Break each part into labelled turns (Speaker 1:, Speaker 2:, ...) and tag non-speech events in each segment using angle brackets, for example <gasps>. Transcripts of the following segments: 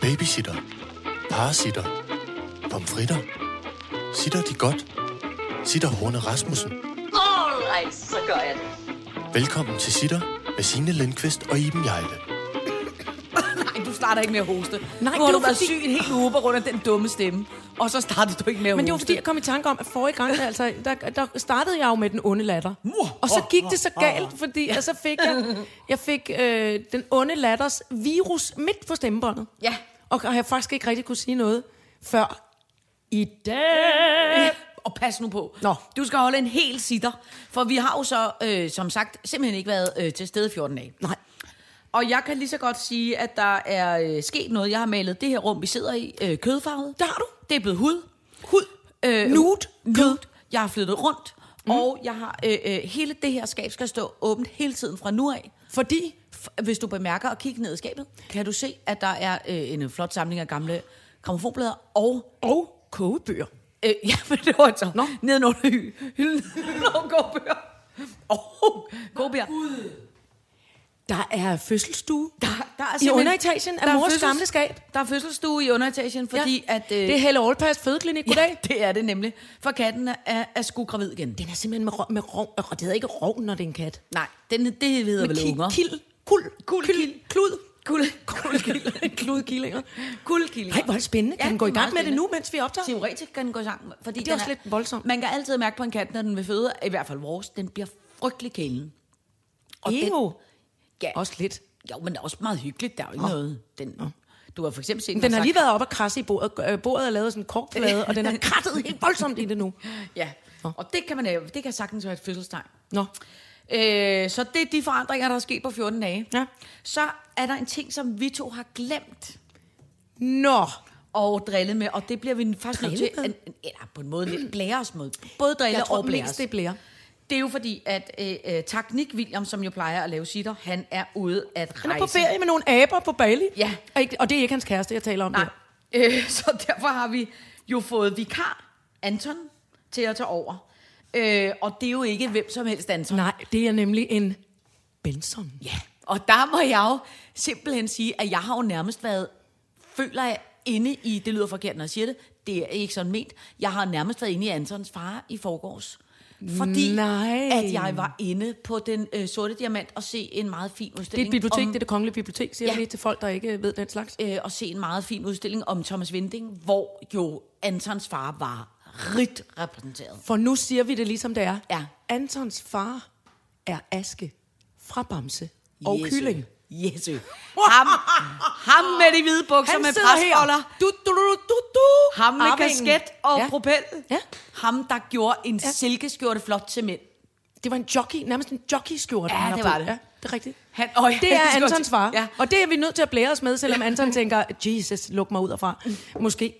Speaker 1: Babysitter. Parasitter. Pomfritter. Sitter de godt? Sitter Horne Rasmussen.
Speaker 2: Alright, så gør jeg det.
Speaker 1: Velkommen til Sitter med Signe Lindqvist og Iben Jejle.
Speaker 3: Nej, du starter ikke med at hoste.
Speaker 4: Nej,
Speaker 3: Nej, nu har
Speaker 4: det
Speaker 3: du
Speaker 4: var
Speaker 3: været
Speaker 4: fordi-
Speaker 3: syg en hel uge på grund af den dumme stemme. Og så startede du ikke med at
Speaker 4: Men det var
Speaker 3: hoste.
Speaker 4: fordi, jeg kom i tanke om, at forrige gang, altså, der, der startede jeg jo med den onde latter. Og så gik det så galt, fordi og så fik jeg, jeg fik øh, den onde latters virus midt på stemmebåndet.
Speaker 3: Ja.
Speaker 4: Og, og jeg faktisk ikke rigtig kunne sige noget før i dag.
Speaker 3: Og pas nu på.
Speaker 4: Nå.
Speaker 3: Du skal holde en hel sitter. For vi har jo så, øh, som sagt, simpelthen ikke været øh, til stede i 14 dage.
Speaker 4: Nej.
Speaker 3: Og jeg kan lige så godt sige, at der er øh, sket noget. Jeg har malet det her rum, vi sidder i, øh, kødfarvet.
Speaker 4: Det har du.
Speaker 3: Det er blevet hud. Hud. Øh,
Speaker 4: Nude.
Speaker 3: Nude. Jeg har flyttet rundt. Mm. Og jeg har, øh, øh, hele det her skab skal stå åbent hele tiden fra nu af.
Speaker 4: Fordi,
Speaker 3: F- Hvis du bemærker og kigger ned i skabet, kan du se, at der er øh, en flot samling af gamle gramofonplader og
Speaker 4: og kogebøger.
Speaker 3: Øh, ja, <laughs> men det var så.
Speaker 4: Nå.
Speaker 3: Nedenunder hy- hylden. <laughs> Nå, gåbøger. Åh, gåbøger.
Speaker 4: Der er fødselsstue.
Speaker 3: Der, der er
Speaker 4: I
Speaker 3: simpelthen-
Speaker 4: underetagen
Speaker 3: der
Speaker 4: af
Speaker 3: er
Speaker 4: mors
Speaker 3: fødsels-
Speaker 4: gamle skab.
Speaker 3: Der er fødselsstue i underetagen, fordi
Speaker 4: ja.
Speaker 3: at... Øh, <laughs>
Speaker 4: det er Helle Aalpas fødeklinik. Goddag.
Speaker 3: ja, det er det nemlig. For katten er, er, er sgu gravid igen.
Speaker 4: Den er simpelthen med, rov- med rov, og det hedder ikke rov, når det er en kat.
Speaker 3: Nej, den, det hedder vel
Speaker 4: ki-
Speaker 3: unger.
Speaker 4: Kild.
Speaker 3: Kul. Kul. Kil. Klud. Kul.
Speaker 4: <laughs>
Speaker 3: Kulkillinger. Kludkillinger. Kulkillinger.
Speaker 4: Nej, hvor er det spændende. Kan den gå i
Speaker 3: det er
Speaker 4: gang
Speaker 3: meget
Speaker 4: med det nu, mens vi optager?
Speaker 3: Teoretisk kan den gå i gang. Fordi
Speaker 4: Det
Speaker 3: den
Speaker 4: er også lidt voldsomt.
Speaker 3: Man kan altid mærke på en kat, når den vil føde, i hvert fald vores, den bliver frygtelig kælen.
Speaker 4: Ew.
Speaker 3: ja,
Speaker 4: Også lidt.
Speaker 3: Jo, men det er også meget hyggeligt. Der er jo ikke oh. noget. Den, oh. Du har for eksempel set...
Speaker 4: Den har lige været op og krasse i bordet. Øh, Bordet er lavet af sådan en korkplade, og den <laughs> har krattet helt voldsomt i det nu.
Speaker 3: Ja, og det kan, man, øh, det kan sagtens være et fødselstegn.
Speaker 4: Nå.
Speaker 3: Øh, så det er de forandringer, der er sket på 14 dage.
Speaker 4: Ja.
Speaker 3: Så er der en ting, som vi to har glemt
Speaker 4: Nå.
Speaker 3: og drille med, og det bliver vi faktisk nødt til,
Speaker 4: Drille med?
Speaker 3: en, en, eller på en måde lidt blære os med. Både drille
Speaker 4: Jeg tror
Speaker 3: og blære
Speaker 4: mest,
Speaker 3: os.
Speaker 4: det bliver.
Speaker 3: Det er jo fordi, at øh, øh, Taknik William, som jo plejer at lave sitter, han er ude at
Speaker 4: Han
Speaker 3: rejse.
Speaker 4: er på ferie med nogle aber på Bali.
Speaker 3: Ja.
Speaker 4: Og, ikke, og det er ikke hans kæreste, jeg taler om.
Speaker 3: Nej.
Speaker 4: Der.
Speaker 3: Øh, så derfor har vi jo fået vikar Anton til at tage over. Øh, og det er jo ikke hvem som helst Anton.
Speaker 4: Nej, det er nemlig en Benson.
Speaker 3: Ja, og der må jeg jo simpelthen sige, at jeg har jo nærmest været, føler jeg, inde i, det lyder forkert, når jeg siger det, det er ikke sådan ment, jeg har nærmest været inde i Antons far i forgårs. Fordi
Speaker 4: Nej.
Speaker 3: at jeg var inde på den øh, sorte diamant og se en meget fin
Speaker 4: Det er et
Speaker 3: udstilling.
Speaker 4: bibliotek,
Speaker 3: om-
Speaker 4: det er det kongelige bibliotek, siger
Speaker 3: Ja.
Speaker 4: ja. jeg lige til folk, der ikke ved den slags.
Speaker 3: øh, og se en meget fin udstilling om Thomas Vinding, hvor jo Antons far var rigt repræsenteret.
Speaker 4: For nu siger vi det ligesom det er.
Speaker 3: Ja.
Speaker 4: Antons far er Aske fra Bamse og Kylling.
Speaker 3: Jesu. Ham, ham med de hvide bukser med presfolder.
Speaker 4: Du, du, du, du, du, du.
Speaker 3: Ham med
Speaker 4: Arvingen.
Speaker 3: kasket og
Speaker 4: ja.
Speaker 3: propel.
Speaker 4: Ja.
Speaker 3: Ham, der gjorde en ja. silkeskjorte flot til mænd.
Speaker 4: Det var en jockey, nærmest en jockeyskjorte.
Speaker 3: Ja,
Speaker 4: han har
Speaker 3: det var
Speaker 4: på.
Speaker 3: det.
Speaker 4: Ja, det er rigtigt.
Speaker 3: Han, og
Speaker 4: Det er
Speaker 3: skjorte.
Speaker 4: Antons far.
Speaker 3: Ja.
Speaker 4: Ja. Og det er vi nødt til at blære os med, selvom
Speaker 3: <laughs>
Speaker 4: Anton tænker, Jesus, luk mig ud derfra. Måske. øh,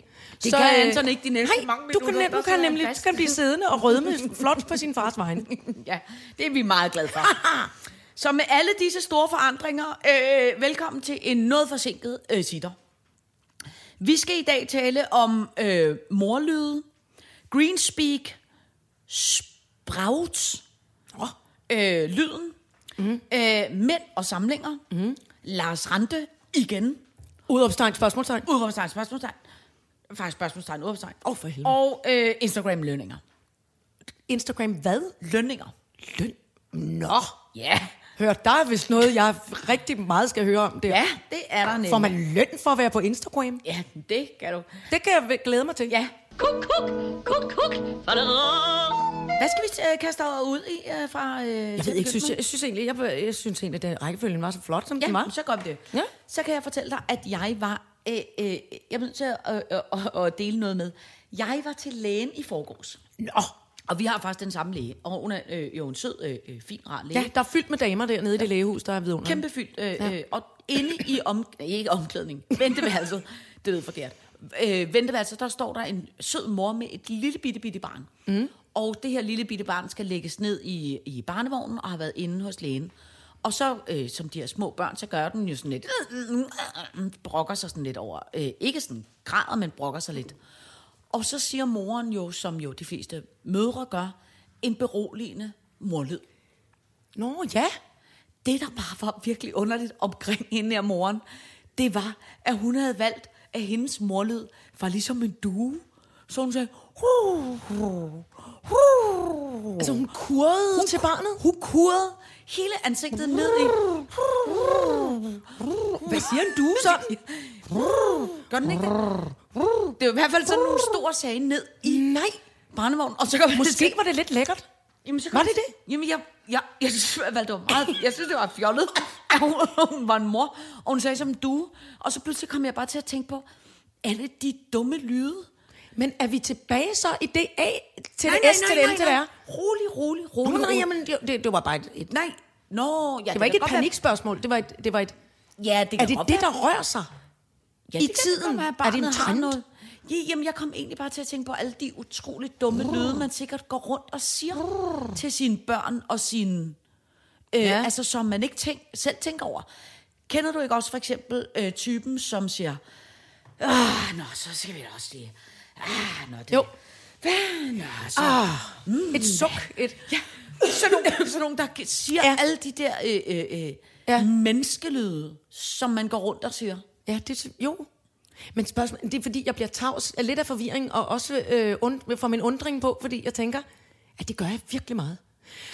Speaker 3: Det kan Anton ikke de næste
Speaker 4: nej,
Speaker 3: mange
Speaker 4: du kan,
Speaker 3: minutter,
Speaker 4: nem- du
Speaker 3: så
Speaker 4: kan
Speaker 3: er han
Speaker 4: nemlig
Speaker 3: fast.
Speaker 4: du kan blive siddende og rødme flot på sin
Speaker 3: <laughs>
Speaker 4: fars vegne.
Speaker 3: ja, det er vi meget glade
Speaker 4: <laughs>
Speaker 3: for. Så med alle disse store forandringer, øh, velkommen til en noget forsinket øh, sitter. Vi skal i dag tale om øh, morlyde, greenspeak, sprouts, øh, lyden,
Speaker 4: Mhm.
Speaker 3: mm. øh, mænd og samlinger, mm. Lars Rante igen,
Speaker 4: Udopstegn, spørgsmålstegn.
Speaker 3: udråbstegn, spørgsmålstegn, faktisk spørgsmålstegn, udråbstegn,
Speaker 4: Åh, for helvede.
Speaker 3: og øh, Instagram-lønninger.
Speaker 4: Instagram, hvad?
Speaker 3: Lønninger?
Speaker 4: Løn? Nå.
Speaker 3: Ja. Yeah.
Speaker 4: Hør, der er vist noget, jeg rigtig meget skal høre om det.
Speaker 3: Ja, det er der nemlig.
Speaker 4: Får man løn for at være på Instagram?
Speaker 3: Ja, det kan du.
Speaker 4: Det kan jeg glæde mig til.
Speaker 3: Ja.
Speaker 2: Kuk, kuk, kuk, kuk. Fadadadam.
Speaker 3: Hvad skal vi øh, kaste over ud i øh, fra... Øh,
Speaker 4: Jeg ved ikke, synes, jeg, jeg synes egentlig, jeg, jeg synes egentlig, at den rækkefølgen var så flot, som
Speaker 3: Ja,
Speaker 4: den var.
Speaker 3: så gør vi det.
Speaker 4: Ja.
Speaker 3: Så kan jeg fortælle dig, at jeg var... Øh, øh, jeg er nødt til at, øh, øh, at dele noget med. Jeg var til lægen i forgårs.
Speaker 4: Nå.
Speaker 3: Og vi har faktisk den samme læge. Og hun er øh, jo en sød, øh, øh, fin, rar læge.
Speaker 4: Ja, der er fyldt med damer dernede i det lægehus, der er vidunderligt.
Speaker 3: Kæmpe fyldt. Øh, ja. øh, og inde i om, nej, ikke omklædning, venteværelset, det lyder forkert. Øh, venteværelset, der står der en sød mor med et lille bitte bitte barn. Mm. Og det her lille bitte barn skal lægges ned i, i barnevognen og har været inde hos lægen. Og så, øh, som de her små børn, så gør den jo sådan lidt, brokker sig sådan lidt over, øh, ikke sådan græder, men brokker sig lidt. Og så siger moren jo, som jo de fleste mødre gør, en beroligende morlyd
Speaker 4: Nå, ja.
Speaker 3: det, der bare var virkelig underligt omkring hende her moren, det var, at hun havde valgt at hendes morlyd var ligesom en due. Så hun sagde... Hu, hu, hu.
Speaker 4: Altså, hun kurrede til barnet?
Speaker 3: Hun kurrede hele ansigtet ned i... Hvad siger en due så? Gør den ikke det? Det er i hvert fald sådan nogle store sage ned i <laughs>
Speaker 4: Nej.
Speaker 3: barnevognen. Og så kom
Speaker 4: Måske var det lidt lækkert.
Speaker 3: Jamen, så
Speaker 4: Var det
Speaker 3: det? Jamen, jeg, jeg, jeg synes, at det var meget... Jeg synes, det var fjollet, <laughs> at hun, hun var en mor, og hun sagde som du. Og så pludselig kom jeg bare til at tænke på, alle de dumme lyde.
Speaker 4: Men er vi tilbage så i det A til det S til det N til det R?
Speaker 3: Rolig, rolig, rolig.
Speaker 4: Nå, nej,
Speaker 3: rolig.
Speaker 4: jamen, det, det, det var bare et, et
Speaker 3: Nej, Nå, ja,
Speaker 4: Det var ikke
Speaker 3: kan
Speaker 4: et
Speaker 3: godt
Speaker 4: panikspørgsmål. Det var et, det var et
Speaker 3: Være, ja, det kan
Speaker 4: er det
Speaker 3: godt
Speaker 4: det,
Speaker 3: være.
Speaker 4: der rører sig?
Speaker 3: ja,
Speaker 4: i
Speaker 3: det kan godt
Speaker 4: tiden?
Speaker 3: Være,
Speaker 4: Er
Speaker 3: at
Speaker 4: det en
Speaker 3: barnet har
Speaker 4: trend?
Speaker 3: noget. Ja, Jamen, jeg kom egentlig bare til at tænke på alle de utroligt dumme lyde, man sikkert går rundt og siger til sine børn og sine... Øh,
Speaker 4: Ja.
Speaker 3: ja. Altså, som man ikke tænk, selv tænker over. Kender du ikke også for eksempel øh, typen, som siger, ah, nå, så skal vi da også lige... Ah, nå, det,
Speaker 4: Jo.
Speaker 3: Hvad, nå, så...
Speaker 4: Et suk? Et, Mm. ja.
Speaker 3: Sådan nogle, sådan nogle der g- siger
Speaker 4: Ja.
Speaker 3: ja. alle de der øh, øh, øh,
Speaker 4: Ja.
Speaker 3: ja. menneskelyde, som man går rundt og siger.
Speaker 4: ja, det jo. Men spørgsmålet, det er fordi, jeg bliver tavs af lidt af forvirring, og også øh, und, for min undring på, fordi jeg tænker, at det gør jeg virkelig meget.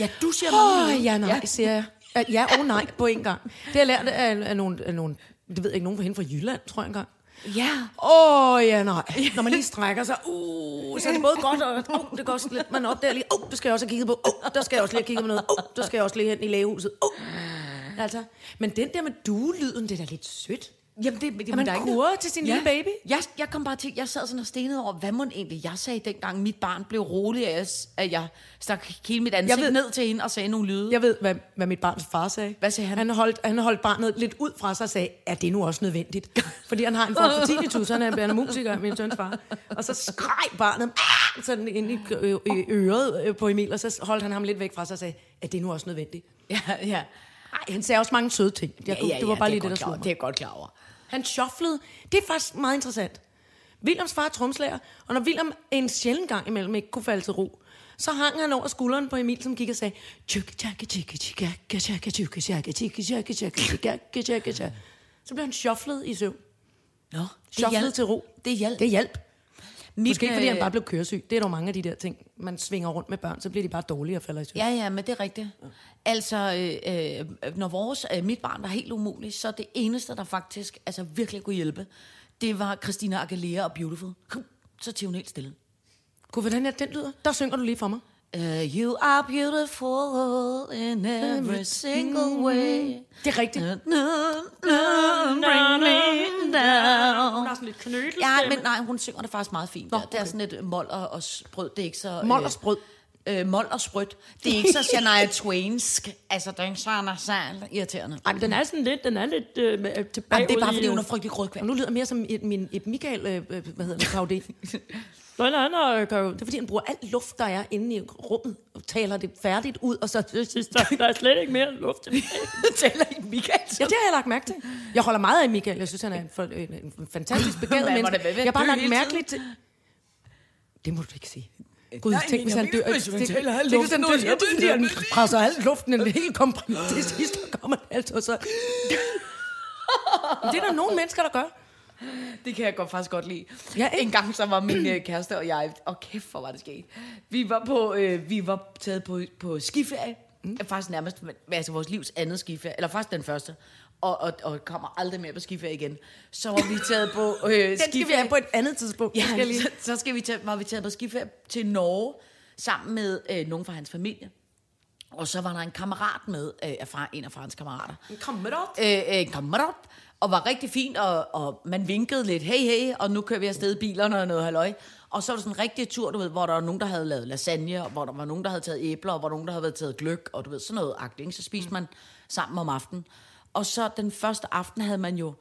Speaker 3: Ja, du siger
Speaker 4: Åh,
Speaker 3: mange lyde.
Speaker 4: oh, ja, nej, ja.
Speaker 3: Ja.
Speaker 4: siger jeg. Øh, Ja og nej på en gang. Det har jeg lært af, af, nogle, af nogle, det ved jeg ikke, nogen fra hende fra Jylland, tror jeg engang.
Speaker 3: ja.
Speaker 4: Åh, oh, ja, nej. Når man lige strækker sig, uh, så er det både godt, og uh, det går også lidt. Man opdager lige, uh, det skal jeg også have kigget på. Uh, der skal jeg også lige have kigget på noget. Uh, der skal jeg også lige hen i lægehuset. Uh. Altså, men den der med duelyden, det er da lidt sødt.
Speaker 3: Jamen, det, det,
Speaker 4: man
Speaker 3: der er ikke
Speaker 4: kurrer
Speaker 3: noget-
Speaker 4: til sin lille baby?
Speaker 3: Jeg, jeg kom bare til, jeg sad sådan og stenede over, hvad må egentlig jeg sagde dengang mit barn blev rolig, at jeg, s- at jeg stak hele mit ansigt
Speaker 4: ved-
Speaker 3: ved, ned til hende og sagde nogle lyde.
Speaker 4: Jeg ved, hvad, hvad mit barns far sagde.
Speaker 3: Hvad sagde han?
Speaker 4: Han holdt, han holdt barnet lidt ud fra sig og sagde, er det nu også nødvendigt? Fordi han har en form for tinnitus, han er, han er musiker, min søns far. Og så skreg barnet "Ah!" sådan ind i ø- ø- øret ø- på Emil, og så holdt han ham lidt væk fra sig og sagde, er det nu også nødvendigt?
Speaker 3: Ja, ja.
Speaker 4: Ej, han sagde også mange søde ting. Jeg, ja, ja, det var bare lige det, der slog mig.
Speaker 3: Det er jeg godt klar over.
Speaker 4: Han shufflede. Det er faktisk meget interessant. Williams far er tromslærer, og når William en sjældent gang imellem ikke kunne falde til ro, så hang han over skulderen på Emil, som gik og sagde, tjukke, tjakke, tjukke, tjaka, tjaka, tjukke, tjaka, tjukke, tjaka, tjaka, tjaka, tjaka, tjaka. Så blev han shufflet i søvn.
Speaker 3: Nå,
Speaker 4: Shufflet til ro.
Speaker 3: Det hjalp.
Speaker 4: Det hjalp.
Speaker 3: Mit,
Speaker 4: Måske ikke, fordi han
Speaker 3: øh,
Speaker 4: bare blev køresyg. Det er dog mange af de der ting, man svinger rundt med børn, så bliver de bare dårlige og falder i søvn.
Speaker 3: Ja, ja, men det er rigtigt. Altså, øh, øh, når vores, øh, mit barn var helt umuligt, så det eneste, der faktisk altså, virkelig kunne hjælpe, det var Christina Aguilera og Beautiful. Så til hun helt stille.
Speaker 4: Gud, hvordan er den lyder? Der synger du lige for mig.
Speaker 3: Uh, you are beautiful in every single way.
Speaker 4: Det er rigtigt.
Speaker 3: Down.
Speaker 4: Hun har sådan lidt knødel.
Speaker 3: Ja, men nej, hun synger det faktisk meget fint. Nå, okay. Det er sådan et mål og, og sprød. Det er ikke så...
Speaker 4: Mol og sprød.
Speaker 3: Øh, mål og sprødt. Det er ikke så Shania Twainsk. Altså, den er sådan så irriterende.
Speaker 4: Ej, men den er sådan lidt, den er lidt øh, med- tilbage.
Speaker 3: Jamen, det er bare,
Speaker 4: ude i,
Speaker 3: fordi hun er
Speaker 4: øh,
Speaker 3: frygtelig
Speaker 4: Og
Speaker 3: grødkvær.
Speaker 4: nu lyder jeg mere som et, min et Michael, øh, øh, hvad hedder det, Claudine. <laughs> Nå, nej, nej, øh, gør jo- Det er fordi, han bruger alt luft, der er inde i rummet, og taler det færdigt ud, og så... Jeg synes, der, der er slet ikke mere luft.
Speaker 3: taler ikke Michael.
Speaker 4: <laughs> Ja, det har jeg lagt mærke til. Jeg holder meget af Michael. Jeg synes, han er en, for, en, en
Speaker 3: <laughs>
Speaker 4: fantastisk begavet
Speaker 3: Man må
Speaker 4: menneske.
Speaker 3: da være ved
Speaker 4: Jeg
Speaker 3: at
Speaker 4: har bare
Speaker 3: dø
Speaker 4: lagt
Speaker 3: hele
Speaker 4: mærke til... Det må du ikke sige. Gud,
Speaker 3: Nej,
Speaker 4: tænk, hvis
Speaker 3: men
Speaker 4: han
Speaker 3: jeg
Speaker 4: dør.
Speaker 3: ved, hvis man taler alt
Speaker 4: Tænk, hvis
Speaker 3: luften
Speaker 4: han
Speaker 3: ud,
Speaker 4: dør.
Speaker 3: jeg ved
Speaker 4: fordi
Speaker 3: det, jeg
Speaker 4: Han
Speaker 3: ved det.
Speaker 4: presser alt luften, en helt komprim. Til sidst der kommer han altså så... Men Det er der nogle mennesker, der
Speaker 3: <laughs>
Speaker 4: gør.
Speaker 3: Det kan jeg godt, faktisk godt lide.
Speaker 4: Ja,
Speaker 3: Ja,
Speaker 4: ikke?
Speaker 3: en gang så var min øh, kæreste og jeg, og kæft hvor var det sket. Vi var, på, øh, vi var taget på, på skiferie, mm. faktisk nærmest men- altså vores livs andet skiferie, eller faktisk den første, og, og, og kommer aldrig mere på skiferie igen. Så var vi taget på øh, skiferie.
Speaker 4: <laughs> Den skal vi have på et andet tidspunkt.
Speaker 3: Ja,
Speaker 4: Skal jeg lige-
Speaker 3: så, så skal vi tage, var vi taget på skiferie til Norge sammen med øh, nogen fra hans familie. Og så var der en kammerat med, øh, af far- en af farens kammerater. Øh, øh, kammerat. Og var rigtig fint, og, og man vinkede lidt, hey, hey, og nu kører vi afsted i bilerne og noget halløj. Og så var det sådan en rigtig tur, du ved, hvor der var nogen, der havde lavet lasagne, og hvor der var nogen, der havde taget æbler, og hvor nogen, der havde taget gløk, og du ved, sådan noget agtigt, ikke? Så spiste man sammen om aftenen. Og så den første aften havde man jo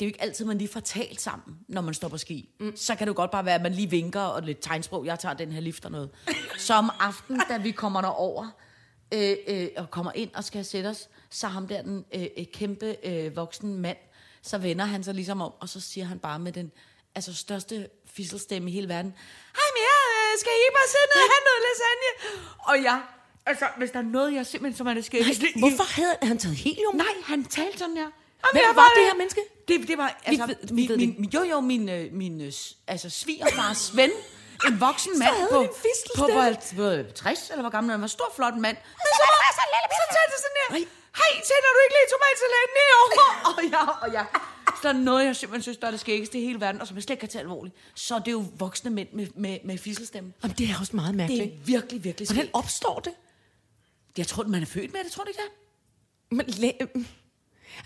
Speaker 3: det er jo ikke altid, man lige får talt sammen, når man står på ski. Mm. Så kan det jo godt bare være, at man lige vinker og lidt tegnsprog. Jeg tager den her lift og noget. Så om aftenen, da vi kommer derover øh, øh, og kommer ind og skal sætte os, så ham der, den øh, øh, kæmpe øh, voksen mand, så vender han sig ligesom om, og så siger han bare med den altså, største fisselstemme i hele verden, Hej med jer, øh, skal I ikke bare sidde ned og have noget lasagne? Og jeg, altså, hvis der er noget, jeg simpelthen som er det skægt.
Speaker 4: Hvorfor havde han taget helium?
Speaker 3: Nej, han talte sådan her.
Speaker 4: Hvem
Speaker 3: jeg
Speaker 4: var
Speaker 3: var
Speaker 4: det
Speaker 3: det.
Speaker 4: her menneske?
Speaker 3: Det, det var, altså,
Speaker 4: ved- vi
Speaker 3: min,
Speaker 4: ved det
Speaker 3: min, jo jo, min, øh, min øh, s- altså, svigerfars <laughs> ven, en voksen mand
Speaker 4: havde de
Speaker 3: på,
Speaker 4: en fistel
Speaker 3: på,
Speaker 4: der.
Speaker 3: på, på, øh, 60, eller hvor gammel han var, stor flot mand. Men så var så lille, så sagde det sådan her, hej, tænder du ikke lige tomatsalaten
Speaker 4: <laughs>
Speaker 3: herovre? og jeg, og jeg, så er der noget, jeg simpelthen synes, der er det skæggeste i hele verden, og som jeg slet ikke kan tage alvorligt, så er det jo voksne mænd med, med, med fisselstemme.
Speaker 4: Jamen, det er også meget
Speaker 3: Det er
Speaker 4: mærkeligt.
Speaker 3: virkelig, virkelig
Speaker 4: Hvordan
Speaker 3: skægt.
Speaker 4: opstår det?
Speaker 3: Jeg tror, man er født med det, tror du ikke det?
Speaker 4: Man la-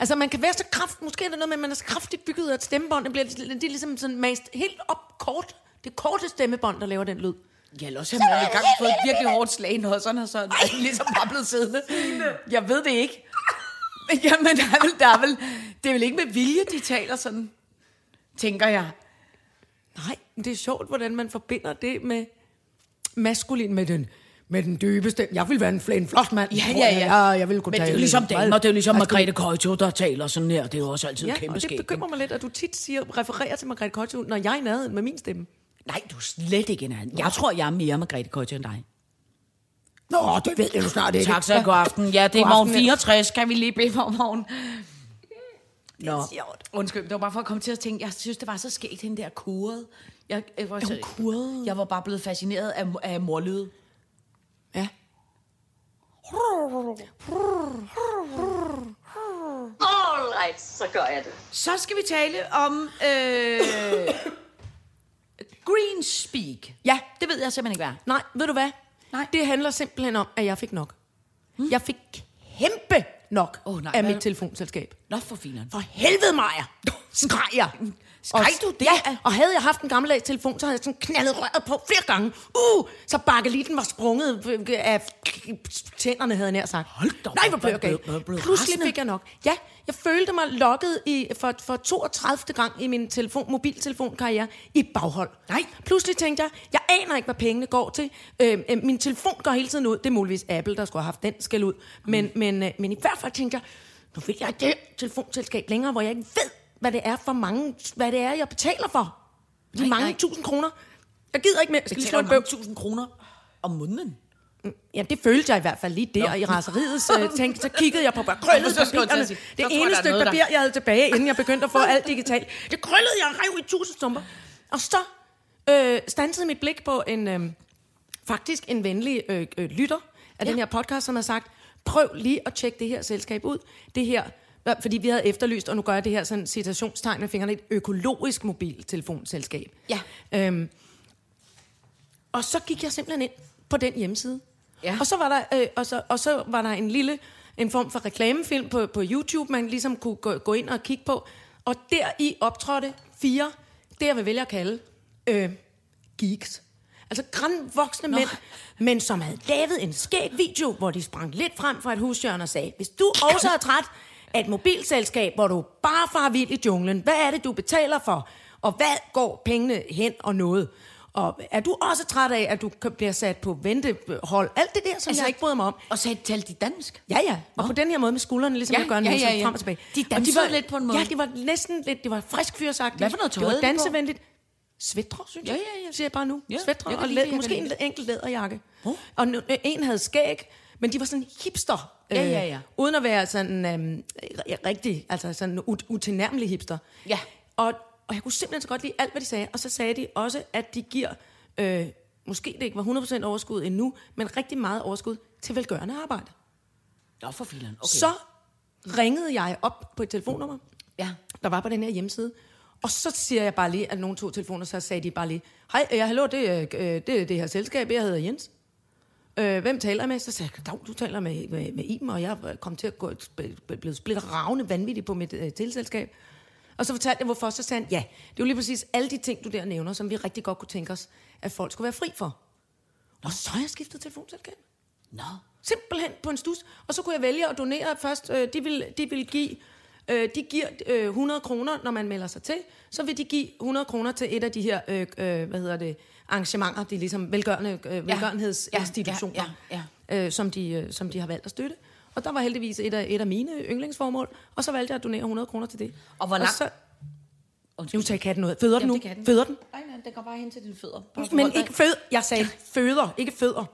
Speaker 4: altså, man kan være så kraft... Måske er det noget med, at man er så kraftigt bygget af et stemmebånd. Det bliver det er ligesom sådan mast helt op kort. Det er korte stemmebånd, der laver den lyd.
Speaker 3: Ja, eller også har man engang fået et virkelig hårdt slag i noget, sådan og sådan, og ligesom bare blevet siddende. Jeg ved det ikke. <laughs> Men Jamen, der er vel, der er vel, det er vel ikke med vilje, de taler sådan, tænker jeg.
Speaker 4: Nej, men det er sjovt, hvordan man forbinder det med maskulin, med den, med den dybe stemme. Jeg vil være en, fl- en flot mand.
Speaker 3: Ja,
Speaker 4: tror
Speaker 3: ja,
Speaker 4: jeg.
Speaker 3: ja.
Speaker 4: Jeg, jeg vil kunne
Speaker 3: Men det er jo
Speaker 4: tale
Speaker 3: ligesom
Speaker 4: meget-
Speaker 3: damer, det er jo ligesom
Speaker 4: Altså,
Speaker 3: Margrethe Køjto, der taler sådan her. Det er jo også altid ja,
Speaker 4: Ja,
Speaker 3: kæmpe
Speaker 4: og det
Speaker 3: skægt.
Speaker 4: bekymrer mig lidt, at du tit siger, refererer til Margrethe Kottio, når jeg er i nærheden med min stemme.
Speaker 3: Nej, du er slet ikke en anden. Jeg tror, jeg er mere Margrethe Køjto end dig.
Speaker 4: Nå, det ved jeg jo snart ikke.
Speaker 3: Tak så god aften. Ja, det er
Speaker 4: God
Speaker 3: morgen
Speaker 4: aften, ja.
Speaker 3: 64. Kan vi lige bede for morgen? Nå,
Speaker 4: sjovt.
Speaker 3: undskyld, det var bare for at komme til at tænke, jeg synes, det var så skægt, hende der kurede. Jeg, jeg, var, så,
Speaker 4: kurede?
Speaker 3: jeg var bare blevet fascineret af, af morlyde.
Speaker 4: Ja.
Speaker 2: All right, så gør jeg det.
Speaker 3: Så skal vi tale om øh, <coughs> green speak.
Speaker 4: Ja,
Speaker 3: Det ved jeg simpelthen ikke, hvad er.
Speaker 4: nej, ved du hvad?
Speaker 3: Nej.
Speaker 4: Det handler simpelthen om, at jeg fik nok. Hmm? Jeg fik kæmpe nok
Speaker 3: Åh, nej,
Speaker 4: af
Speaker 3: hvad-
Speaker 4: mit telefonselskab.
Speaker 3: Nå, for fineren.
Speaker 4: For helvede, Maja! <laughs> Skreg jeg.
Speaker 3: Skreg
Speaker 4: Og-
Speaker 3: du det?
Speaker 4: Ja, og havde jeg haft en gammeldags telefon, så havde jeg sådan knaldet røret på flere gange. Uh! Så bakkelitten var sprunget øh, af tænderne, havde jeg nær sagt.
Speaker 3: Hold da op,
Speaker 4: Nej, hvor blev jeg
Speaker 3: blev-
Speaker 4: gal.
Speaker 3: blev- blev
Speaker 4: Pludselig
Speaker 3: rasende.
Speaker 4: fik jeg nok. Ja, jeg følte mig lokket i, for, for 32. gang i min telefon, mobiltelefonkarriere i baghold.
Speaker 3: Nej.
Speaker 4: Pludselig tænkte jeg, jeg aner ikke, hvad pengene går til. Øh, øh, min telefon går hele tiden ud. Det er muligvis Apple, der skulle have haft den skal ud. Men,
Speaker 3: Mm.
Speaker 4: men, øh, men i hvert fald tænkte jeg, nu vil jeg ikke det telefonselskab længere, hvor jeg ikke ved, hvad det er for mange, hvad det er, jeg betaler for. De
Speaker 3: Nej,
Speaker 4: mange
Speaker 3: nej.
Speaker 4: tusind kroner. Jeg gider ikke mere. Jeg skal lige slå en bøv.
Speaker 3: 1000 kroner om måneden.
Speaker 4: Ja, det følte jeg i hvert fald lige der i raseriets øh, tænk. Så kiggede jeg på bare krøllede
Speaker 3: Så skulle jeg til at
Speaker 4: papirerne.
Speaker 3: sige, så tror
Speaker 4: Det
Speaker 3: jeg, der
Speaker 4: ene
Speaker 3: er
Speaker 4: stykke
Speaker 3: noget, der-
Speaker 4: papir, jeg havde tilbage, inden jeg begyndte at få alt digitalt. Det krøllede jeg og rev i tusind stumper. Og så øh, stansede mit blik på en, øh, faktisk en venlig øh, øh, lytter af ja. den her podcast, som har sagt, prøv lige at tjekke det her selskab ud. Det her, øh, fordi vi havde efterlyst, og nu gør jeg det her sådan citationstegn med fingrene, et økologisk mobiltelefonselskab.
Speaker 3: Ja.
Speaker 4: Øhm, og så gik jeg simpelthen ind på den hjemmeside.
Speaker 3: Ja.
Speaker 4: Og, så var der, øh, og, så, og så var der en lille en form for reklamefilm på, på YouTube, man ligesom kunne gå, gå ind og kigge på. Og der i optrådte fire, det jeg vil vælge at kalde, øh, geeks. Altså grandvoksne mænd, men som havde lavet en skæg video, hvor de sprang lidt frem fra et hushjørne og sagde, hvis du også er træt af et mobilselskab, hvor du bare farer vild i junglen, hvad er det, du betaler for? Og hvad går pengene hen og noget? Og er du også træt af, at du kan- bliver sat på ventehold? Alt det der, som altså, jeg ikke bryder mig om.
Speaker 3: Og så talte de dansk.
Speaker 4: Ja, ja. Og på den her måde med skuldrene, ligesom
Speaker 3: Ja,
Speaker 4: jeg gør nu,
Speaker 3: ja, ja,
Speaker 4: så
Speaker 3: ja.
Speaker 4: frem og tilbage.
Speaker 3: De
Speaker 4: og
Speaker 3: dansede lidt på en måde.
Speaker 4: Ja, det var næsten lidt, det var frisk fyrsagtigt.
Speaker 3: Hvad for noget tøj
Speaker 4: Det
Speaker 3: havde
Speaker 4: var
Speaker 3: de på?
Speaker 4: dansevenligt. Svætre, synes
Speaker 3: Ja,
Speaker 4: jeg.
Speaker 3: ja, ja.
Speaker 4: Siger jeg bare nu.
Speaker 3: Ja,
Speaker 4: Ja,
Speaker 3: jeg
Speaker 4: Svætre
Speaker 3: kan
Speaker 4: og
Speaker 3: lide det,
Speaker 4: læ-
Speaker 3: jeg
Speaker 4: måske
Speaker 3: kan
Speaker 4: en
Speaker 3: lide
Speaker 4: enkelt læderjakke.
Speaker 3: Hov.
Speaker 4: Og nu, øh, en havde skæg, men de var sådan hipster. øh,
Speaker 3: Ja, ja, ja.
Speaker 4: uden at være sådan øhm, r- rigtig, altså sådan ut- utilnærmelig hipster.
Speaker 3: Ja.
Speaker 4: Og, og jeg kunne simpelthen så godt lide alt, hvad de sagde. Og så sagde de også, at de giver, øh, måske det ikke var 100% overskud endnu, men rigtig meget overskud til velgørende arbejde.
Speaker 3: Nå, for fileren. Okay.
Speaker 4: Okay. Så ringede jeg op på et telefonnummer,
Speaker 3: Ja.
Speaker 4: der var på den her hjemmeside. Og så siger jeg bare lige, at nogen to telefoner, så sagde de bare lige, hej, ja, hallo, det, er, øh, det er det her selskab, jeg hedder Jens. Øh, hvem taler jeg med? Så sagde jeg, "Dav, du taler med, med, med Iben, og jeg kom til at gå, blive splittet ravne vanvittig på mit øh, teleselskab. Og så fortalte jeg, hvorfor. Så sagde han, ja, det er jo lige præcis alle de ting, du der nævner, som vi rigtig godt kunne tænke os, at folk skulle være fri for. Og så har jeg skiftet telefonselskab.
Speaker 3: Nå.
Speaker 4: Simpelthen på en stus. Og så kunne jeg vælge at donere først. Øh, de, vil, de vil give... Øh, de giver øh, 100 kroner, når man melder sig til. Så vil de give 100 kroner til et af de her, øh, øh, hvad hedder det, arrangementer, de ligesom velgørende, øh, velgørenhedsinstitutioner,
Speaker 3: ja,
Speaker 4: Øh, som, de, øh, som de har valgt at støtte. Og der var heldigvis et af, et af mine yndlingsformål, og så valgte jeg at donere 100 kroner til det.
Speaker 3: Og hvor langt-
Speaker 4: så,
Speaker 3: Undskyld.
Speaker 4: nu tager katten ud. Føder
Speaker 3: Jamen,
Speaker 4: den nu?
Speaker 3: det kan den.
Speaker 4: Føder den?
Speaker 3: Nej, nej, den går bare hen til dine fødder.
Speaker 4: Men ikke fød. Jeg sagde føder, ikke fødder.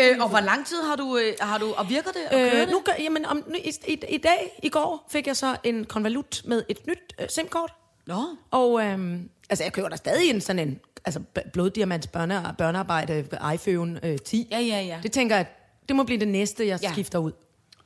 Speaker 3: Øh, og hvor lang tid har du, øh, har du og virker det? Og kører
Speaker 4: Øh,
Speaker 3: det?
Speaker 4: nu gør, jamen, om, nu, i, i, i dag, i går, fik jeg så en konvolut med et nyt øh, SIM-kort.
Speaker 3: Nå.
Speaker 4: Og øhm, altså, jeg køber der stadig en sådan en altså, b- bloddiamants børne, børnearbejde iPhone øh, 10.
Speaker 3: Ja, ja, ja.
Speaker 4: Det tænker jeg, det må blive det næste, jeg
Speaker 3: Ja.
Speaker 4: ja. skifter ud.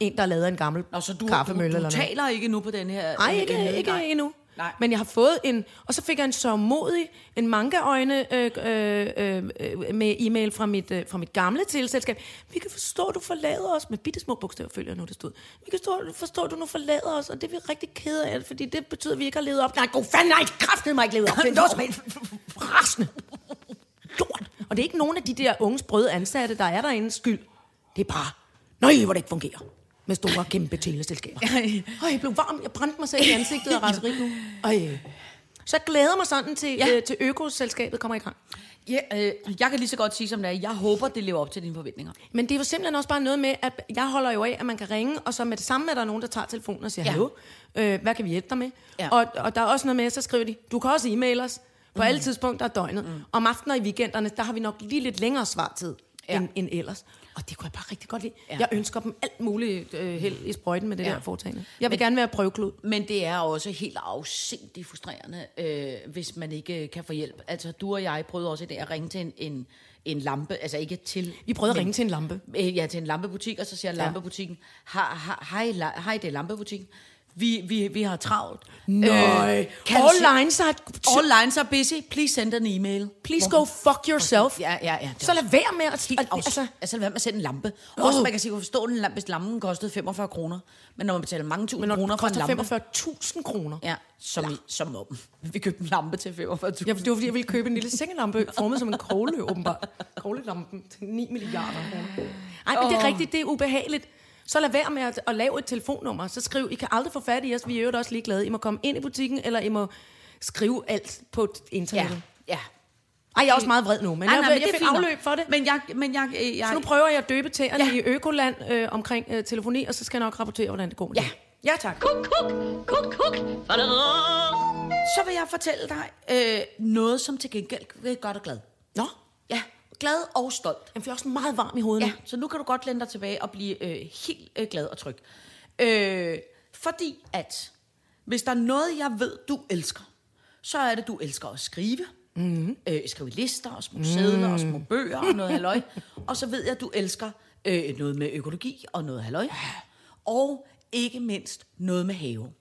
Speaker 4: En, der har lavet en gammel
Speaker 3: Nå, så du,
Speaker 4: kaffemølle
Speaker 3: du, du
Speaker 4: eller noget.
Speaker 3: taler ikke nu på den her...
Speaker 4: Nej,
Speaker 3: øh,
Speaker 4: ikke,
Speaker 3: øh,
Speaker 4: ikke
Speaker 3: nej.
Speaker 4: endnu.
Speaker 3: Nej.
Speaker 4: Men jeg har fået en... Og så fik jeg en sørgmodig, en mangaøjne øh, øh, øh, øh, med e-mail fra mit, øh, fra mit gamle teleselskab. Vi kan forstå, du forlader os... Med bitte små bogstaver følger jeg nu, det stod. Vi kan forstå, forstå, du nu forlader os, og det er vi rigtig kede af, fordi det betyder, at vi ikke har levet op. Nej, god fanden, nej, kraften mig ikke levet op. Det er noget som helst. Rasende. Lort. Og det er ikke nogen af de der unge sprøde ansatte, der er derinde skyld. Det er bare, nej, hvor det ikke fungerer med store, kæmpe teleselskaber. Øj, jeg blev varm. Jeg brændte mig selv i ansigtet af raseri nu. Øj. Så jeg glæder mig sådan til,
Speaker 3: Ja.
Speaker 4: ja. øh, til økoselskabet kommer i gang.
Speaker 3: Ja, øh, jeg kan lige så godt sige som det er. Jeg håber, det lever op til dine forventninger.
Speaker 4: Men det er jo simpelthen også bare noget med, at jeg holder jo af, at man kan ringe, og så med det samme er der nogen, der tager telefonen og siger,
Speaker 3: Ja.
Speaker 4: ja. hallo, øh, hvad kan vi hjælpe dig med?
Speaker 3: Ja.
Speaker 4: Ja. Og, og der er også noget med, så skriver de, du kan også e-mail os på mm. alle tidspunkter af døgnet. Mm. Om aftenen og i weekenderne, der har vi nok lige lidt længere svartid
Speaker 3: Ja.
Speaker 4: ja. end, end ellers. Og det kunne jeg bare rigtig godt lide.
Speaker 3: Ja.
Speaker 4: Ja. Jeg ønsker dem alt muligt øh, held i sprøjten med det
Speaker 3: Ja.
Speaker 4: ja. der foretagende. Jeg vil gerne være prøveklud.
Speaker 3: Men det er også helt afsindigt frustrerende, øh, hvis man ikke øh, kan få hjælp. Altså, du og jeg prøvede også i dag at ringe til en, en, en lampe, altså ikke til...
Speaker 4: Vi prøvede at ringe til en lampe.
Speaker 3: Øh, ja, til en lampebutik, og så siger lampebutikken, "Ha- ha- hej, la- hej, det er lampebutikken. Vi, vi, vi har travlt.
Speaker 4: Nej.
Speaker 3: Øh, kan
Speaker 4: all
Speaker 3: du-
Speaker 4: lines are...
Speaker 3: all lines are busy. Please send an email.
Speaker 4: Please go fuck yourself.
Speaker 3: Ja, ja, ja.
Speaker 4: Så lad være med at...
Speaker 3: Helt
Speaker 4: at-
Speaker 3: afs- altså, altså, lad være med at sætte en lampe. Oh. Også man kan sige, kunne forstå en lampe, hvis lampen kostede 45 kroner. Men når man betaler mange tusind
Speaker 4: Men når
Speaker 3: kroner
Speaker 4: det
Speaker 3: for en
Speaker 4: koster
Speaker 3: lampe...
Speaker 4: 45.000 kroner.
Speaker 3: Ja, som, i, som om. Vi købte en lampe til 45.000.
Speaker 4: Ja, for det var fordi, jeg ville købe en lille sengelampe, formet som en kogle, åbenbart. Koglelampen til 9 milliarder kroner. Ej, men det er rigtigt, det er ubehageligt. Så lad være med at, at lave et telefonnummer. Så skriv, I kan aldrig få fat i os, vi er i øvrigt også ligeglade. I må komme ind i butikken, eller I må skrive alt på
Speaker 3: Ja,
Speaker 4: internettet.
Speaker 3: ja.
Speaker 4: Ej, jeg er også meget vred nu, men,
Speaker 3: Ej,
Speaker 4: jeg,
Speaker 3: nej,
Speaker 4: jeg, jeg
Speaker 3: er
Speaker 4: fik
Speaker 3: fint nok.
Speaker 4: afløb for det.
Speaker 3: Men jeg... Men jeg, øh, jeg
Speaker 4: Så nu prøver jeg at døbe tæerne
Speaker 3: Ja.
Speaker 4: ja. i Økoland øh, omkring øh, telefoni, og så skal jeg nok rapportere, hvordan det går med
Speaker 3: Ja.
Speaker 4: det. Ja, tak.
Speaker 2: Kuk, kuk, kuk, kuk.
Speaker 3: så vil jeg fortælle dig øh, noget, som til gengæld vil gøre dig glad.
Speaker 4: Nå,
Speaker 3: Ja, glad og stolt.
Speaker 4: jeg bliver også meget varm i hovedet
Speaker 3: Ja,
Speaker 4: nu.
Speaker 3: så nu kan du godt lænde dig tilbage og blive øh, helt øh, glad og tryg. Øh, fordi at, hvis der er noget, jeg ved, du elsker, så er det, du elsker at skrive.
Speaker 4: Mhm.
Speaker 3: Mm-hmm. Øh, skrive lister og små sædler og
Speaker 4: Mm.
Speaker 3: små bøger og
Speaker 4: <laughs>
Speaker 3: noget halløj. og så ved jeg, at du elsker øh, noget med økologi og noget halløj. Og ikke mindst noget med have. <gasps>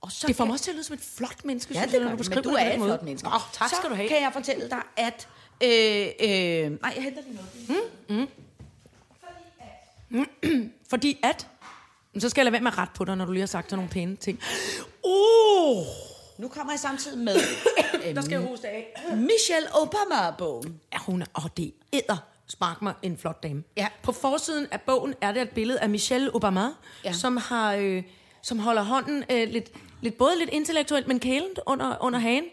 Speaker 3: Og så
Speaker 4: Det får
Speaker 3: kan-
Speaker 4: mig også til at lyde som et flot menneske,
Speaker 3: Ja,
Speaker 4: synes
Speaker 3: det
Speaker 4: jeg,
Speaker 3: gør
Speaker 4: når du
Speaker 3: det,
Speaker 4: beskriver
Speaker 3: men du
Speaker 4: det
Speaker 3: er
Speaker 4: på den
Speaker 3: et
Speaker 4: måde.
Speaker 3: flot menneske.
Speaker 4: Åh, tak
Speaker 3: så
Speaker 4: skal du have.
Speaker 3: kan jeg fortælle dig, at... Øh, øh, nej, jeg henter lige noget.
Speaker 4: Fordi at... Men Så skal jeg lade være med at rette på dig, når du lige har sagt sådan nogle pæne ting. Uh!
Speaker 3: Nu kommer jeg samtidig <coughs> med øhm,
Speaker 4: Der skal jeg hoste af.
Speaker 3: Michelle Obama-bogen.
Speaker 4: Ja, hun er... Åh, det æder spark mig en flot dame.
Speaker 3: Ja.
Speaker 4: På forsiden af bogen er der et billede af Michelle Obama,
Speaker 3: Ja.
Speaker 4: ja. som har... Øh, som holder hånden øh, lidt, lidt, både lidt intellektuelt, men kælent under, under hagen.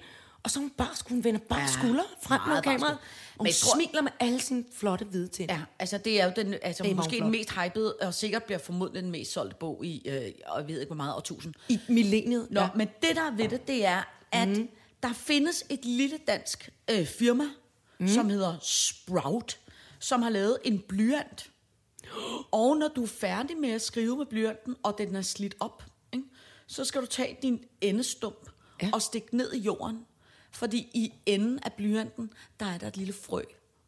Speaker 4: Og så hun bare, hun vender bare
Speaker 3: Ja,
Speaker 4: ja, skulder frem mod
Speaker 3: meget bare
Speaker 4: kameraet.
Speaker 3: skulder.
Speaker 4: Og hun
Speaker 3: Men jeg tror-
Speaker 4: smiler med alle sine flotte hvide tænder.
Speaker 3: Ja, altså det er jo den, altså
Speaker 4: Det er
Speaker 3: måske den
Speaker 4: meget
Speaker 3: mest hypede, og sikkert bliver formodentlig den mest solgte bog i, øh, og jeg ved ikke hvor meget, årtusind.
Speaker 4: I millenniet.
Speaker 3: Nå, ja.
Speaker 4: ja. Mhm.
Speaker 3: men det der er ved det, det er, at mm. der findes et lille dansk øh, firma,
Speaker 4: Mhm.
Speaker 3: mm. som hedder Sprout, som har lavet en blyant. Og når du er færdig med at skrive med blyanten, og den er slidt op, ikke, så skal du tage din endestump ja.
Speaker 4: Ja.
Speaker 3: og stikke ned i jorden. Fordi i enden af blyanten, der er der et lille frø,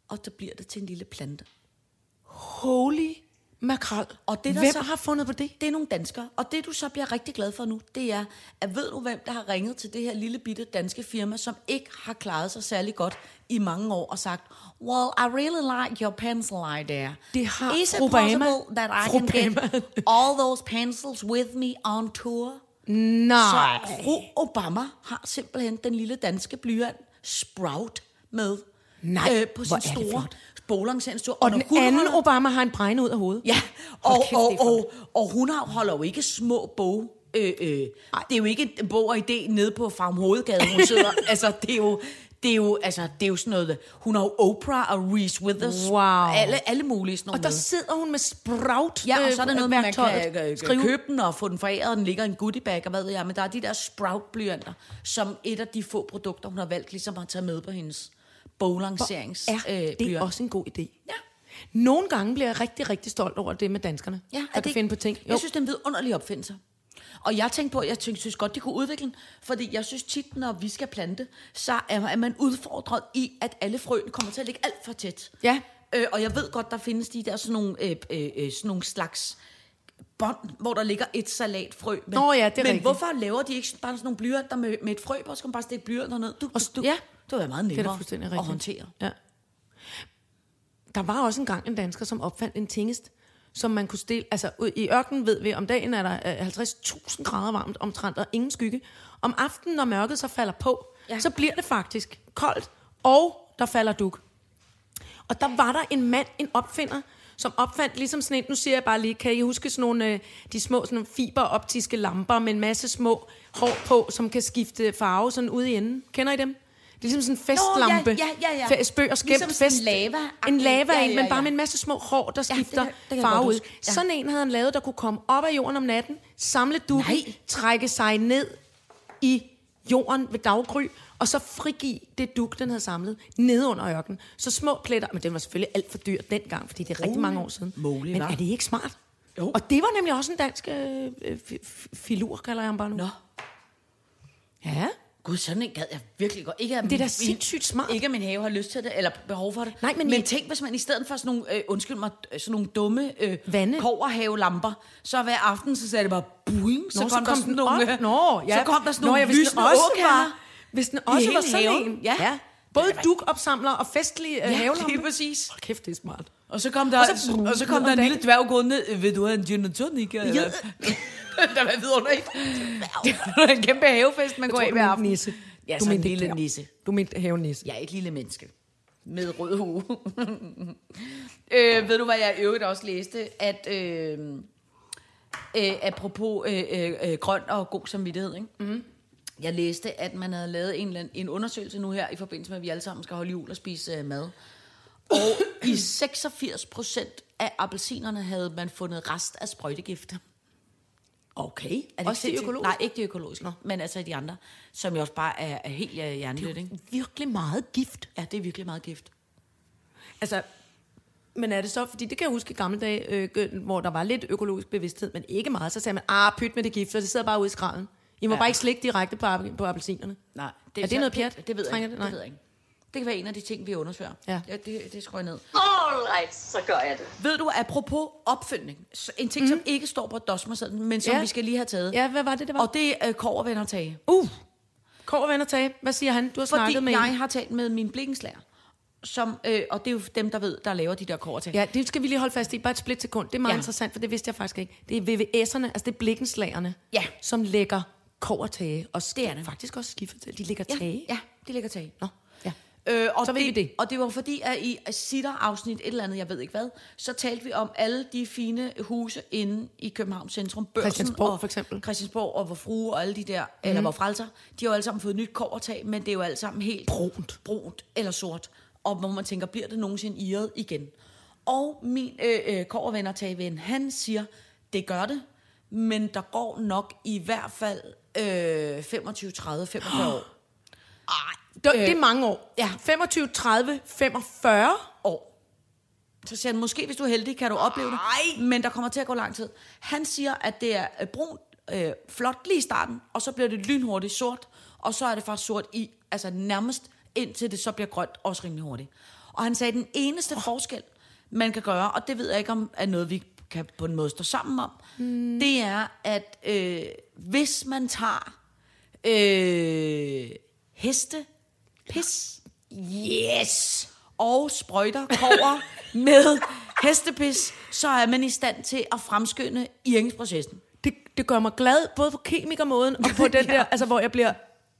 Speaker 3: og der bliver det til en lille plante.
Speaker 4: Holy makrel.
Speaker 3: Og det, der
Speaker 4: Hvem
Speaker 3: så-
Speaker 4: har fundet på det?
Speaker 3: Det er nogle danskere, og det du så bliver rigtig glad for nu, det er, at ved du hvem, der har ringet til det her lille bitte danske firma, som ikke har klaret sig særlig godt i mange år og sagt, well, I really like your pencil idea.
Speaker 4: Det har
Speaker 3: Is it
Speaker 4: fru Bama-
Speaker 3: possible that I
Speaker 4: fru
Speaker 3: can get
Speaker 4: <laughs> Bama-
Speaker 3: all those pencils with me on tour?
Speaker 4: Nej.
Speaker 3: Så fru Obama har simpelthen den lille danske blyant Sprout med øh,
Speaker 4: Nej,
Speaker 3: på
Speaker 4: hvor
Speaker 3: sin
Speaker 4: er det
Speaker 3: store
Speaker 4: flot.
Speaker 3: boglangsenstur.
Speaker 4: Og den anden Obama har en bregne ud af hovedet.
Speaker 3: Ja,
Speaker 4: Hold
Speaker 3: og,
Speaker 4: kæft,
Speaker 3: og,
Speaker 4: det er
Speaker 3: og, og hun har- holder jo ikke små bog. Øh, øh. Det er jo ikke en bog og idé nede på Farm Hovedgade, hun
Speaker 4: <laughs>
Speaker 3: sidder. altså, det er jo... Det er, jo, altså, det er jo sådan noget... Hun har jo Oprah og Reese Withers.
Speaker 4: Wow.
Speaker 3: Alle, alle mulige sådan
Speaker 4: Og der sidder hun med sprout
Speaker 3: Ja, og så er der noget
Speaker 4: øh,
Speaker 3: med, at man
Speaker 4: værktøjet.
Speaker 3: kan, kan, kan
Speaker 4: Skrive.
Speaker 3: købe den og få den foræret, og den ligger i en goodiebag, og hvad ved jeg. Men der er de der sprout-blyanter, som et af de få produkter, hun har valgt, ligesom at tage med på hendes boglancerings
Speaker 4: er
Speaker 3: øh,
Speaker 4: det
Speaker 3: byer.
Speaker 4: også en god idé.
Speaker 3: Ja.
Speaker 4: Nogle gange bliver jeg rigtig, rigtig stolt over det med danskerne.
Speaker 3: Ja,
Speaker 4: der
Speaker 3: er
Speaker 4: kan
Speaker 3: det ikke-
Speaker 4: finde på ting. Jo.
Speaker 3: Jeg synes, det er en vidunderlig opfindelse. Og jeg tænkte på, at jeg tænkte, synes godt, de kunne udvikle den, fordi jeg synes tit, når vi skal plante, så er er man udfordret i, at alle frøene kommer til at ligge alt for tæt.
Speaker 4: Ja.
Speaker 3: Øh, og jeg ved godt, der findes de der sådan nogle, øh, øh, øh, sådan nogle slags bånd, hvor der ligger et salatfrø. Men,
Speaker 4: Nå ja, det er
Speaker 3: Men
Speaker 4: rigtigt.
Speaker 3: hvorfor laver de ikke bare sådan nogle blyanter med, med et frø på, så kan man bare stikke blyanter ned? Du, du,
Speaker 4: ja.
Speaker 3: det var meget
Speaker 4: det er da
Speaker 3: nemmere
Speaker 4: fuldstændig rigtigt.
Speaker 3: at håndtere.
Speaker 4: Ja. Der var også engang en dansker, som opfandt en tingest, som man kunne stille... Altså, ud i ørkenen ved vi, om dagen er der øh, 50.000 grader varmt omtrent, og ingen skygge. Om aftenen, når mørket så falder på, ja.
Speaker 3: Ja.
Speaker 4: så bliver det faktisk koldt, og der falder duk. Og der var der en mand, en opfinder, som opfandt ligesom sådan en, nu siger jeg bare lige, kan I huske sådan nogle, øh, de små sådan nogle fiberoptiske lamper med en masse små hår på, som kan skifte farve sådan ude i enden. Kender I dem? Det er ligesom sådan en festlampe.
Speaker 3: ja, ja, ja.
Speaker 4: Fe- Spøg og skæmt
Speaker 3: Ligesom sådan
Speaker 4: fest.
Speaker 3: en lava.
Speaker 4: En lava,
Speaker 3: Ja,
Speaker 4: ja,
Speaker 3: ja,
Speaker 4: men
Speaker 3: ja.
Speaker 4: bare med en masse små hår, der
Speaker 3: Ja, det
Speaker 4: skifter
Speaker 3: kan- det kan jeg
Speaker 4: farve
Speaker 3: godt
Speaker 4: ud.
Speaker 3: huske.
Speaker 4: Ja.
Speaker 3: Ja.
Speaker 4: Sådan en havde han lavet, der kunne komme op af jorden om natten, samle dukken,
Speaker 3: Nej.
Speaker 4: trække sig ned i jorden ved daggry, og så frigive det duk, den havde samlet, nede under ørkenen. Så små pletter, men den var selvfølgelig alt for dyr dengang, fordi det er rigtig mange år siden.
Speaker 3: moly,
Speaker 4: men
Speaker 3: hva'?
Speaker 4: er det ikke smart?
Speaker 3: Jo.
Speaker 4: Og det var nemlig også en dansk øh, øh, fi- fi- filur, kalder jeg ham bare nu.
Speaker 3: Nå,
Speaker 4: Ja.
Speaker 3: gud, sådan en gad jeg virkelig godt. Ikke, at
Speaker 4: Det er da
Speaker 3: min-
Speaker 4: sindssygt smart.
Speaker 3: Ikke at min have har lyst til det, eller behov for det.
Speaker 4: Nej, men
Speaker 3: men
Speaker 4: I-
Speaker 3: tænk, hvis man i stedet for sådan nogle, øh, undskyld mig, øh, sådan nogle dumme øh,
Speaker 4: Vande.
Speaker 3: koverhavelamper, så hver aften, så sagde det bare boing, så,
Speaker 4: Nå,
Speaker 3: kom, der sådan
Speaker 4: den
Speaker 3: nogle,
Speaker 4: op.
Speaker 3: øh,
Speaker 4: Nå, ja.
Speaker 3: så kom der sådan
Speaker 4: Nå,
Speaker 3: nogle
Speaker 4: ja, hvis den
Speaker 3: lysende
Speaker 4: også
Speaker 3: åkander.
Speaker 4: var, Hvis den
Speaker 3: i
Speaker 4: også
Speaker 3: hele
Speaker 4: var sådan
Speaker 3: haven.
Speaker 4: en.
Speaker 3: Ja.
Speaker 4: Både dukopsamler og festlige øh,
Speaker 3: Ja,
Speaker 4: havelamper.
Speaker 3: lige præcis.
Speaker 4: Hold kæft, det er smart.
Speaker 3: Og så kom der,
Speaker 4: Og
Speaker 3: og
Speaker 4: så-
Speaker 3: så, og så kom der en lille dværg gående ned. "Øh, Vil du have en gin and tonic? Eller?
Speaker 4: Ja.
Speaker 3: <laughs> der var vidunderligt.
Speaker 4: <laughs>
Speaker 3: Det var en kæmpe havefest, man går af hver aften.
Speaker 4: Nisse.
Speaker 3: Ja,
Speaker 4: du
Speaker 3: så en
Speaker 4: mente ikke
Speaker 3: lille
Speaker 4: dværg.
Speaker 3: nisse.
Speaker 4: Du mente havenisse.
Speaker 3: Jeg er et lille menneske med rød hue. <laughs> øh, ved du, hvad jeg i øvrigt også læste? At øh, øh, apropos øh, øh, øh, grøn og god samvittighed, ikke? Mm. jeg læste, at man havde lavet en, eller anden- en undersøgelse nu her, i forbindelse med, at vi alle sammen skal holde jul og spise øh, mad. Og i 86 procent af appelsinerne havde man fundet rest af sprøjtegifte. Okay. Er det
Speaker 4: Også de
Speaker 3: sindssygt?
Speaker 4: økologiske?
Speaker 3: Nej, ikke de økologiske, men altså de andre, som jo også bare er, er helt øh, hjernedødt, ikke?
Speaker 4: Virkelig meget gift.
Speaker 3: Ja, det er virkelig meget gift.
Speaker 4: Altså, men er det så, fordi det kan jeg huske i gamle dage, øh, gø- hvor der var lidt økologisk bevidsthed, men ikke meget, så sagde man, ah, pyt med det gift, og det sidder bare ude i skralden. I må ja.
Speaker 3: Ja.
Speaker 4: bare ikke slikke direkte på, app- på appelsinerne.
Speaker 3: Nej.
Speaker 4: Er det
Speaker 3: så-
Speaker 4: noget pjat?
Speaker 3: Det, det, ved jeg
Speaker 4: Trænger
Speaker 3: ikke. Det,
Speaker 4: det? Nej.
Speaker 3: det ved jeg ikke. Det kan være en af de ting, vi undersøger.
Speaker 4: Ja.
Speaker 3: det, det skriver jeg ned.
Speaker 2: All right, så gør jeg det.
Speaker 3: Ved du, apropos opfindning, så en ting, mm. som ikke står på dosmersedlen, men som
Speaker 4: Ja.
Speaker 3: ja. vi skal lige have taget.
Speaker 4: Ja, hvad var det, det var?
Speaker 3: Og det er øh, kovervendertage.
Speaker 4: Uh, Kåre Vendertage, hvad siger han? Du har
Speaker 3: Fordi
Speaker 4: snakket med en.
Speaker 3: jeg har talt med min blikkenslærer, som, øh, og det er jo dem, der ved, der laver de der kovertage.
Speaker 4: Ja, det skal vi lige holde fast i. Bare et split sekund. Det er meget ja.
Speaker 3: Ja.
Speaker 4: interessant, for det vidste jeg faktisk ikke. Det er VVS'erne, altså det er blikkenslagerne,
Speaker 3: Ja.
Speaker 4: som lægger kovertage og sk-
Speaker 3: Det er det.
Speaker 4: faktisk også skiffertage. De lægger
Speaker 3: ja,
Speaker 4: tage.
Speaker 3: ja de ligger tage.
Speaker 4: Nå, ja.
Speaker 3: Øh, og
Speaker 4: Så ved
Speaker 3: det,
Speaker 4: vi det.
Speaker 3: Og det var fordi, at i Sitter-afsnit, et eller andet, jeg ved ikke hvad, så talte vi om alle de fine huse inde i Københavns Centrum. Børsen
Speaker 4: Christiansborg,
Speaker 3: og,
Speaker 4: for eksempel. Mhm.
Speaker 3: Christiansborg og vor frue og alle de der, mm. eller vor frelser, de har jo alle sammen fået nyt kovertag, men det er jo alle sammen helt brunt, brunt eller sort. Og hvor man tænker, bliver det nogensinde irret igen? Og min øh, øh, kovervenner, tagven, han siger, det gør det, men der går nok i hvert fald øh, 25, 30, 45 år.
Speaker 4: Det, Øh, det er mange år.
Speaker 3: ja.
Speaker 4: 25, 30, 45.
Speaker 3: år. Så siger han, måske hvis du er heldig, kan du opleve det. Men der kommer til at gå lang tid. Han siger, at det er øh, brunt, øh, flot lige i starten, og så bliver det lynhurtigt sort, og så er det faktisk sort i, altså nærmest indtil det så bliver grønt, også rimelig hurtigt. Og han sagde, at den eneste oh. forskel, man kan gøre, og det ved jeg ikke om er noget, vi kan på en måde stå sammen om, mm. det er, at øh, hvis man tager øh, heste, pis, Yes! Og sprøjter
Speaker 4: <laughs>
Speaker 3: kover med hestepis, så er man i stand til at fremskynde iringsprocessen.
Speaker 4: Det, det gør mig glad, både på kemikermåden og
Speaker 3: <laughs>
Speaker 4: på den ja. der, altså hvor jeg bliver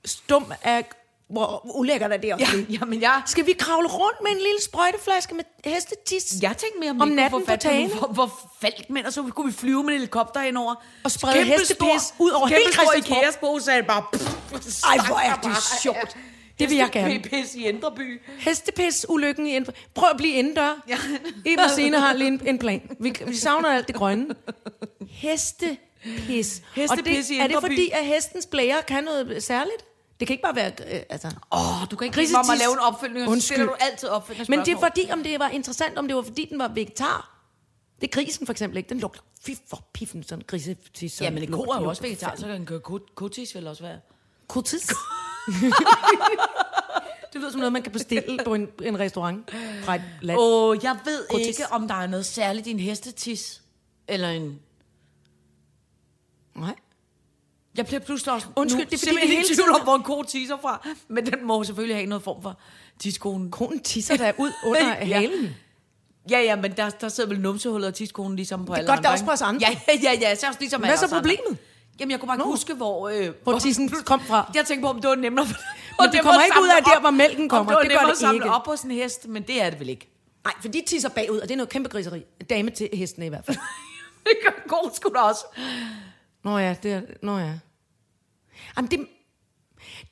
Speaker 4: stum af, hvor ulækkert er det også. Ja.
Speaker 3: ja, men jeg...
Speaker 4: Skal vi kravle rundt med en lille sprøjteflaske med hestetis?
Speaker 3: Jeg tænkte mere, om,
Speaker 4: Om
Speaker 3: vi kunne
Speaker 4: natten
Speaker 3: få fat på
Speaker 4: på tagene?
Speaker 3: nogle- hvor, hvor faldt mænd, og så kunne vi flyve med en helikopter henover.
Speaker 4: Og sprede
Speaker 3: Kæmpe
Speaker 4: hestepis ud over hele Christiansborg.
Speaker 3: Kæmpe stor Ikeas så er det bare...
Speaker 4: Ej, hvor er det sjovt. Det vil jeg gerne.
Speaker 3: Hestepis i Indreby.
Speaker 4: Hestepis-ulykken i indendør. Prøv at blive indendør. Ja.
Speaker 3: Ja.
Speaker 4: Eben Sene har lige en, en plan. Vi, vi savner alt det grønne. Hestepis. Og
Speaker 3: Hestepis
Speaker 4: det,
Speaker 3: i
Speaker 4: er
Speaker 3: Indre
Speaker 4: det
Speaker 3: By.
Speaker 4: fordi, at hestens blære kan noget særligt? Det kan ikke bare være... Øh, altså.
Speaker 3: Åh, oh, du kan ikke grisetist.
Speaker 4: Grisetist.
Speaker 3: om at lave en opfølgning, og så
Speaker 4: Undskyld.
Speaker 3: stiller du altid opfølgende
Speaker 4: Men det er
Speaker 3: spørgsmål.
Speaker 4: fordi, om det var interessant, om det var fordi, den var vegetar. Det er grisen for eksempel ikke. Den lugter fy for piffen, sådan en grise.
Speaker 3: Ja, men en ko er jo også vegetar, så kan en ko- kotis vel også være.
Speaker 4: <laughs> Kotis. det lyder som noget, man kan bestille på en, en restaurant fra et land. Oh.
Speaker 3: Åh, jeg ved
Speaker 4: Kotis.
Speaker 3: kotis. ikke, om der er noget særligt i en hestetis. Eller en...
Speaker 4: Nej.
Speaker 3: Jeg bliver pludselig også...
Speaker 4: Undskyld,
Speaker 3: nu,
Speaker 4: det er fordi,
Speaker 3: simpelthen
Speaker 4: vi hele
Speaker 3: i
Speaker 4: tiden
Speaker 3: tvivl om,
Speaker 4: har-
Speaker 3: hvor en ko tisser fra. Men den må selvfølgelig have noget form for tiskonen.
Speaker 4: Konen tisser der ud <laughs> under
Speaker 3: Ja.
Speaker 4: halen.
Speaker 3: Ja, ja, men der, der sidder vel numsehullet og tiskonen ligesom på alle
Speaker 4: godt, der er
Speaker 3: andre,
Speaker 4: også
Speaker 3: ikke?
Speaker 4: på os andre.
Speaker 3: Ja, ja, ja, ja, så er også ligesom alle
Speaker 4: så
Speaker 3: os andre.
Speaker 4: problemet?
Speaker 3: Jamen, jeg kunne bare ikke huske, hvor... Øh,
Speaker 4: Hvor tissen kom fra.
Speaker 3: Jeg tænkte på, om det var nemmere... for-
Speaker 4: Men
Speaker 3: om
Speaker 4: det
Speaker 3: var
Speaker 4: kommer ikke ud af
Speaker 3: samlet
Speaker 4: der,
Speaker 3: op-
Speaker 4: hvor mælken
Speaker 3: Om
Speaker 4: kommer.
Speaker 3: det var
Speaker 4: Det gør
Speaker 3: nemmere at
Speaker 4: det
Speaker 3: samle
Speaker 4: ikke.
Speaker 3: op hos en hest, men det er det vel ikke. <laughs>
Speaker 4: Nej, for de tisser bagud, og det er noget kæmpe griseri. Dame til hesten i hvert fald.
Speaker 3: Det gør en ko sgu da også.
Speaker 4: Nå ja, det er... Nå ja. Jamen, det,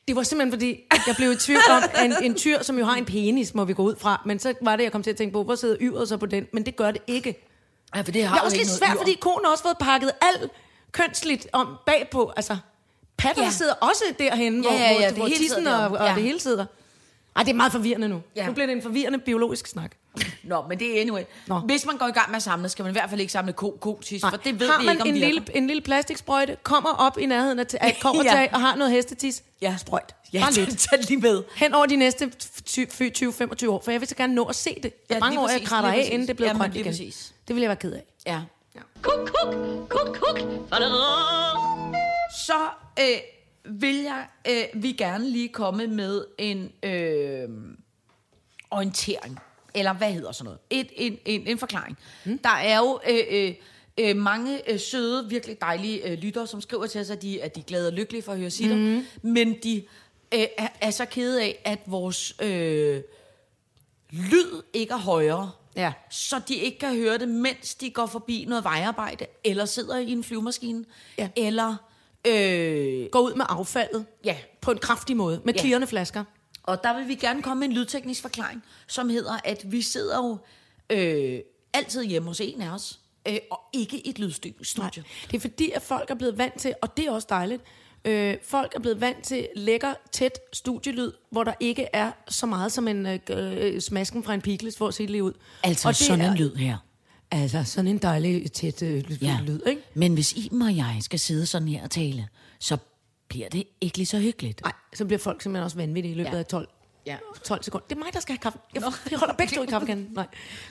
Speaker 4: det var simpelthen fordi, at jeg blev i tvivl om, at en, en tyr, som jo har en penis, må vi gå ud fra. Men så var det, jeg kom til at tænke på, hvor sidder yret så på den? Men det gør det ikke.
Speaker 3: Ja, for det har
Speaker 4: Det er
Speaker 3: jo
Speaker 4: også
Speaker 3: ikke
Speaker 4: lidt
Speaker 3: noget
Speaker 4: svært,
Speaker 3: ur.
Speaker 4: fordi konen har også fået pakket alt kønsligt om bagpå. Altså, patter ja.
Speaker 3: Ja.
Speaker 4: sidder også derhen,
Speaker 3: Ja, ja, ja,
Speaker 4: hvor,
Speaker 3: det
Speaker 4: hvor, hvor
Speaker 3: hele
Speaker 4: tissen
Speaker 3: sidder
Speaker 4: og,
Speaker 3: deroppe.
Speaker 4: og
Speaker 3: Ja.
Speaker 4: det hele sidder. Ej, det er meget forvirrende nu. Ja.
Speaker 3: Ja.
Speaker 4: Nu bliver det en forvirrende biologisk snak.
Speaker 3: Nå, men det er anyway. Nå.
Speaker 4: Nå.
Speaker 3: Hvis man går i gang med at samle, skal man i hvert fald ikke samle ko, ko tis, for det ved
Speaker 4: har
Speaker 3: vi
Speaker 4: man
Speaker 3: ikke, om
Speaker 4: en,
Speaker 3: de
Speaker 4: lille, en lille plastiksprøjte, kommer op i nærheden af, t- af
Speaker 3: Ja.
Speaker 4: ja. og har noget hestetis,
Speaker 3: Ja.
Speaker 4: sprøjt.
Speaker 3: Ja,
Speaker 4: Bare lidt.
Speaker 3: tag, <laughs> tag lige med.
Speaker 4: hen over de næste 20-25 år, for jeg vil så gerne nå at se det. Ja,
Speaker 3: Ja,
Speaker 4: mange
Speaker 3: lige
Speaker 4: år, jeg
Speaker 3: præcis,
Speaker 4: kratter
Speaker 3: lige
Speaker 4: af,
Speaker 3: præcis.
Speaker 4: inden det er blevet
Speaker 3: Jamen,
Speaker 4: grønt
Speaker 3: lige
Speaker 4: igen.
Speaker 3: præcis.
Speaker 4: Det ville jeg være ked af.
Speaker 3: Ja.
Speaker 2: Kuk, kuk, kuk, kuk.
Speaker 3: Så øh, vil jeg, øh, vi gerne lige komme med en øh, orientering, eller hvad hedder sådan noget? Et, en, en, en forklaring.
Speaker 2: Hmm?
Speaker 3: Mm. Der er jo øh, øh, øh, mange øh, søde, virkelig dejlige øh, lyttere, som skriver til os, at de, at de er glade og lykkelige for at høre sitter,
Speaker 2: Hmm.
Speaker 3: mm. men de øh, er, er så kede af, at vores øh, lyd ikke er højere.
Speaker 4: Ja.
Speaker 3: så de ikke kan høre det, mens de går forbi noget vejarbejde, eller sidder i en flyvemaskine,
Speaker 4: Ja.
Speaker 3: eller... Øh,
Speaker 4: Gå ud med affaldet
Speaker 3: ja,
Speaker 4: på en kraftig måde, med
Speaker 3: Ja.
Speaker 4: klirrende flasker.
Speaker 3: og der vil vi gerne komme med en lydteknisk forklaring, som hedder, at vi sidder jo øh, altid hjemme hos en af os, øh, og ikke i et
Speaker 4: Nej.
Speaker 3: lydstudie.
Speaker 4: Det er fordi, at folk er blevet vant til, og det er også dejligt, øh, folk er blevet vant til lækker, tæt studielyd, hvor der ikke er så meget som en øh, øh, smasken fra en pikles, for at se det lige ud. Og det er-
Speaker 3: Altså, lyd her.
Speaker 4: Altså, sådan en dejlig, tæt øh, lyd, ja. lyd, ikke?
Speaker 3: Men hvis Iben og jeg skal sidde sådan her og tale, så bliver det ikke lige så hyggeligt.
Speaker 4: Nej, så bliver folk simpelthen også vanvittige i løbet ja.
Speaker 3: Ja.
Speaker 4: af 12, ja.
Speaker 3: Ja.
Speaker 4: 12 sekunder. Det er mig, der skal have kaffe. Jeg, jeg holder begge to i kaffekanden. Nej.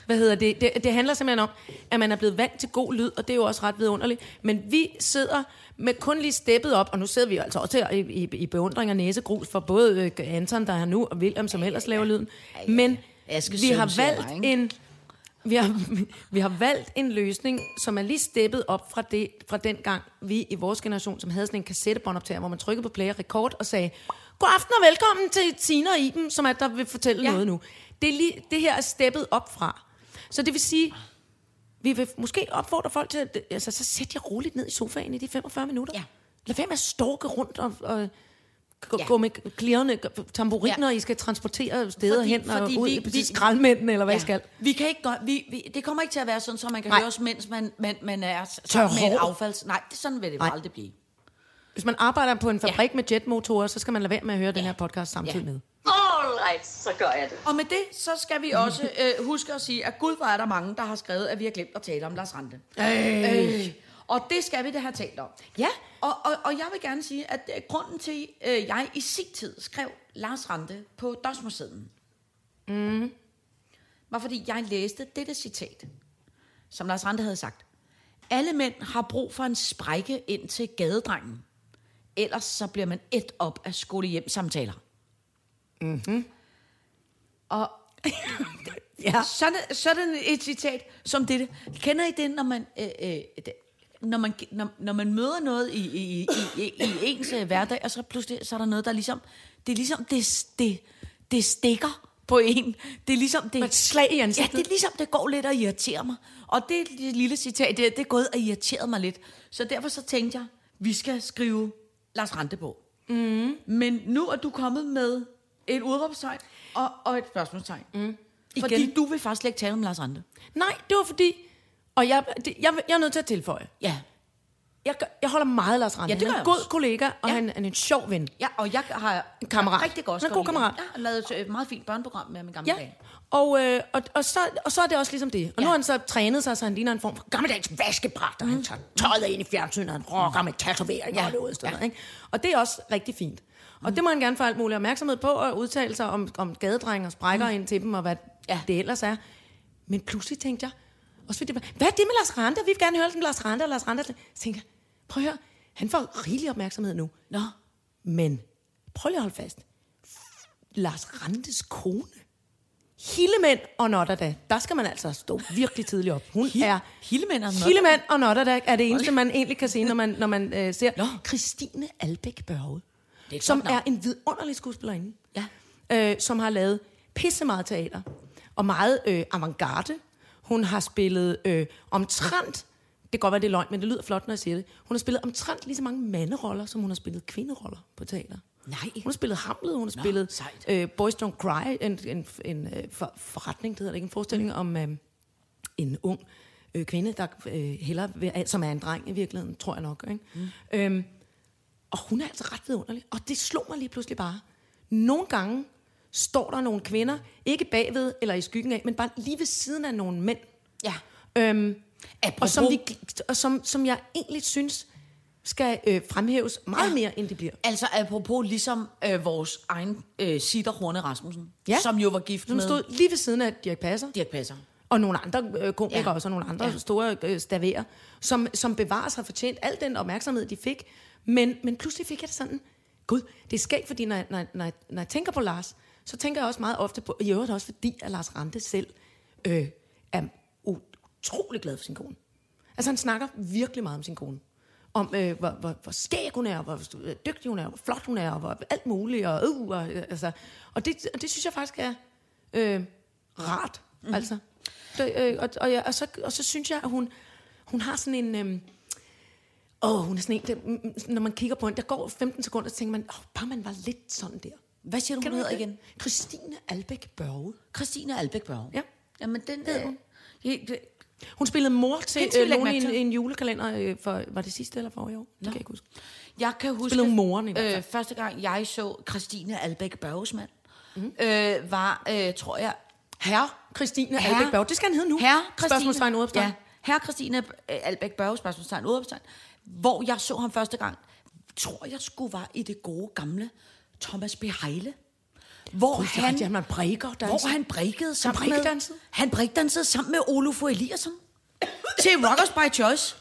Speaker 4: Hvad hedder det? det? Det handler simpelthen om, at man er blevet vant til god lyd, og det er jo også ret vidunderligt. Men vi sidder med kun lige steppet op, og nu sidder vi jo altså også her i, i, i beundring og næsegrus for både øh, Anton, der er her nu, og William, som ellers laver lyden. Men
Speaker 3: Askes
Speaker 4: vi
Speaker 3: søn,
Speaker 4: har
Speaker 3: siger
Speaker 4: valgt
Speaker 3: jeg, ikke?
Speaker 4: en... Vi har, <laughs> vi har valgt en løsning, som er lige steppet op fra, det, fra den gang, vi i vores generation, som havde sådan en kassettebåndoptager, hvor man trykkede på play og record og sagde, god aften og velkommen til Tina og Iben, som er der vil fortælle ja.
Speaker 3: Ja.
Speaker 4: noget nu. Det, er lige, det her er steppet op fra. Så det vil sige, vi vil måske opfordre folk til, at altså, så sæt jer roligt ned i sofaen i de 45 minutter.
Speaker 3: Ja.
Speaker 4: Lad være med at storke rundt og, og gå, ja.
Speaker 3: Ja.
Speaker 4: gå med klirrende tamburiner, ja. I skal transportere steder
Speaker 3: Fordi-
Speaker 4: hen og
Speaker 3: fordi
Speaker 4: ud
Speaker 3: vi-
Speaker 4: vi, til
Speaker 3: vi-
Speaker 4: skraldmændene, eller hvad ja. I skal.
Speaker 3: Vi kan ikke gøre, vi, vi, det kommer ikke til at være sådan, så man kan
Speaker 4: Nej.
Speaker 3: Nej. høre os, mens man, man, man er s-
Speaker 4: Tør
Speaker 3: sammen med et
Speaker 4: hår.
Speaker 3: affalds... Nej, det, sådan vil det
Speaker 4: Nej.
Speaker 3: aldrig blive.
Speaker 4: Hvis man arbejder på en fabrik ja. med jetmotorer, så skal man lade være med at høre ja. den her podcast samtidig ja.
Speaker 3: Ja.
Speaker 4: med.
Speaker 2: All right, så gør jeg det.
Speaker 3: Og med det, så skal vi
Speaker 4: <laughs>
Speaker 3: også øh, huske at sige, at gud, hvor er der mange, der har skrevet, at vi har glemt at tale om Lars Rante. Øh. Og det skal vi da have talt om.
Speaker 4: Ja.
Speaker 3: Og, og, og jeg vil gerne sige, at øh, grunden til, øh, jeg i sin tid skrev Lars Rante på Dosmersedlen, mm. var fordi jeg læste dette citat, som Lars Rante havde sagt. Alle mænd har brug for en sprække ind til gadedrengen. Ellers så bliver man et op af skolehjem-samtaler.
Speaker 4: Ja.
Speaker 3: Sådan, sådan et citat som dette. Kender I det, når man, øh, øh, det- når man, når, når man møder noget i, i, i, i, i ens øh, hverdag, og så pludselig så er der noget, der ligesom... Det er ligesom, det, det, det stikker på en. Det er ligesom, det...
Speaker 4: Med et slag i
Speaker 3: Ja,
Speaker 4: ansigtet.
Speaker 3: det er ligesom, det går lidt og irriterer mig. Og det lille citat, det, det er gået og irriteret mig lidt. Så derfor så tænkte jeg, vi skal skrive Lars Rante på. Mm. Men nu er du kommet med et udråbstegn og, og et spørgsmålstegn. Mm. Fordi du vil faktisk slet ikke tale om Lars Rante.
Speaker 4: Nej, det var fordi... Og jeg, det, jeg, jeg er nødt til at tilføje.
Speaker 3: Ja.
Speaker 4: Jeg, gør- jeg holder meget af Lars Randi.
Speaker 3: Ja, det
Speaker 4: han er
Speaker 3: gør jeg
Speaker 4: en god
Speaker 3: også.
Speaker 4: kollega, og
Speaker 3: Ja.
Speaker 4: han er en sjov ven.
Speaker 3: Ja, og jeg har
Speaker 4: En kammerat.
Speaker 3: rigtig godt.
Speaker 4: Han er en
Speaker 3: skole.
Speaker 4: god kammerat.
Speaker 3: Jeg har lavet et øh, meget fint børneprogram med ham i gamle
Speaker 4: Ja,
Speaker 3: dage.
Speaker 4: og, øh, og, og, så, og så er det også ligesom det. Og
Speaker 3: Ja.
Speaker 4: ja. nu
Speaker 3: Mm.
Speaker 4: har han så trænet sig, så han ligner en form for gammeldags vaskebragt, og han tager tøjet ind i fjernsynet, og han rocker med tatoveringer
Speaker 3: Ja. Mm.
Speaker 4: og noget sådan noget, ikke? Og det er også rigtig fint. Og det må han gerne få alt muligt opmærksomhed på, og udtale sig om, om gadedrenge og sprækker mm. ind til dem, og hvad ja.
Speaker 3: Ja.
Speaker 4: det ellers er. Men pludselig tænkte jeg, også fordi, det var, hvad er det med Lars Rante? Vi vil gerne høre om Lars Rante og Lars Rante. Så tænkte jeg, prøv at høre, han får rigelig opmærksomhed nu.
Speaker 3: Nå,
Speaker 4: Men prøv lige at holde fast. Lars Randes kone. Hillemænd og Notterdag. Der skal man altså stå virkelig tidligt op. Hun er...
Speaker 3: Hildemænd og Notterdag?
Speaker 4: Hildemænd og Notterdag er det eneste, man egentlig kan se, når man, når man øh, ser
Speaker 3: Nå.
Speaker 4: Christine Albæk Børge.
Speaker 3: Det er et
Speaker 4: som
Speaker 3: godt
Speaker 4: er
Speaker 3: navn.
Speaker 4: en vidunderlig skuespillerinde.
Speaker 3: Ja.
Speaker 4: Øh, som har lavet pisse meget teater. Og meget øh, avantgarde. Hun har spillet øh, omtrent... Det kan godt være, det er løgn, men det lyder flot, når jeg siger det. Hun har spillet omtrent lige så mange manderoller, som hun har spillet kvinderoller på teater.
Speaker 3: Nej.
Speaker 4: Hun har spillet Hamlet, hun har spillet
Speaker 3: sejt.
Speaker 4: øh, Boys Don't Cry, en, en, en øh, for, forretning, det hedder det ikke, en forestilling mm. om øh, en ung øh, kvinde, der øh, heller, vil- som er en dreng i virkeligheden, tror jeg nok. Ikke? Mm. Øhm, og hun er altså ret vidunderlig, og det slog mig lige pludselig bare. Nogle gange står der nogle kvinder, ikke bagved eller i skyggen af, men bare lige ved siden af nogle mænd,
Speaker 3: ja.
Speaker 4: Øhm, og som, vi,
Speaker 3: Apropos-
Speaker 4: og som, som jeg egentlig synes skal øh, fremhæves meget
Speaker 3: Ja.
Speaker 4: mere, end det bliver.
Speaker 3: Altså apropos ligesom øh, vores egen øh, Sitter Horne Rasmussen,
Speaker 4: Ja.
Speaker 3: som jo var gift
Speaker 4: Som
Speaker 3: med
Speaker 4: stod lige ved siden af Dirk Passer.
Speaker 3: Dirk Passer.
Speaker 4: Og nogle andre øh, komikere ja.
Speaker 3: Ja.
Speaker 4: også, og nogle andre ja.
Speaker 3: Ja.
Speaker 4: store øh, staverer, som, som bevarer sig fortjent al den opmærksomhed, de fik. Men, men pludselig fik jeg det sådan, gud, det er skægt, fordi når, jeg- når, jeg- når, jeg- når jeg tænker på Lars, så tænker jeg også meget ofte på, i øvrigt også fordi, at Lars Rante selv øh, er utrolig glad for sin kone. Altså han snakker virkelig meget om sin kone. Om øh, hvor, hvor, hvor skæg hun er, og hvor øh, dygtig hun er, og hvor flot hun er, og hvor alt muligt. Og, øh, og, øh, altså, og, det, og det synes jeg faktisk er øh, rart.
Speaker 3: Mhm.
Speaker 4: Mm. Altså. Det, øh, og, og, ja, og, så, og så synes jeg, at hun, hun har sådan en... Øh, åh, hun er sådan en, der, mm, når man kigger på hende, der går 15 sekunder, så tænker man, åh, bare man var lidt sådan der.
Speaker 3: Hvad siger du, hun hedder
Speaker 4: det?
Speaker 3: igen?
Speaker 4: Christine Albæk Børge.
Speaker 3: Christine Albeck Børge.
Speaker 4: Ja.
Speaker 3: Jamen den... Øh, helt, øh,
Speaker 4: Hun spillede mor til
Speaker 3: Hende skal vi
Speaker 4: øh,
Speaker 3: lægge
Speaker 4: nogen i
Speaker 3: mærke
Speaker 4: en,
Speaker 3: til.
Speaker 4: en julekalender, øh, for, var det sidste eller for i år? Det kan jeg ikke huske.
Speaker 3: jeg kan huske...
Speaker 4: Spillede hun moren i hvert fald.
Speaker 3: øh, Første gang jeg så Christine Albeck Børges mand,
Speaker 4: Mhm.
Speaker 3: mm. øh, var, øh, tror jeg, herre
Speaker 4: Christine
Speaker 3: Herre-
Speaker 4: Albæk Børge. Det skal han hedde nu.
Speaker 3: Herre Christine,
Speaker 4: Spørgsmålstegn udopstegn.
Speaker 3: Ja, herre Christine øh, Albeck Børge, spørgsmålstegn udopstegn, hvor jeg så ham første gang, tror jeg skulle var i det gode gamle Thomas B. Heile. Hvor
Speaker 4: Gud, det er
Speaker 3: han,
Speaker 4: rigtigt, han var en breakerdanser.
Speaker 3: hvor han breakede sammen
Speaker 4: breakdansede?
Speaker 3: med, han breakdansede sammen med Oluf Eliasson til Rockers by Choice.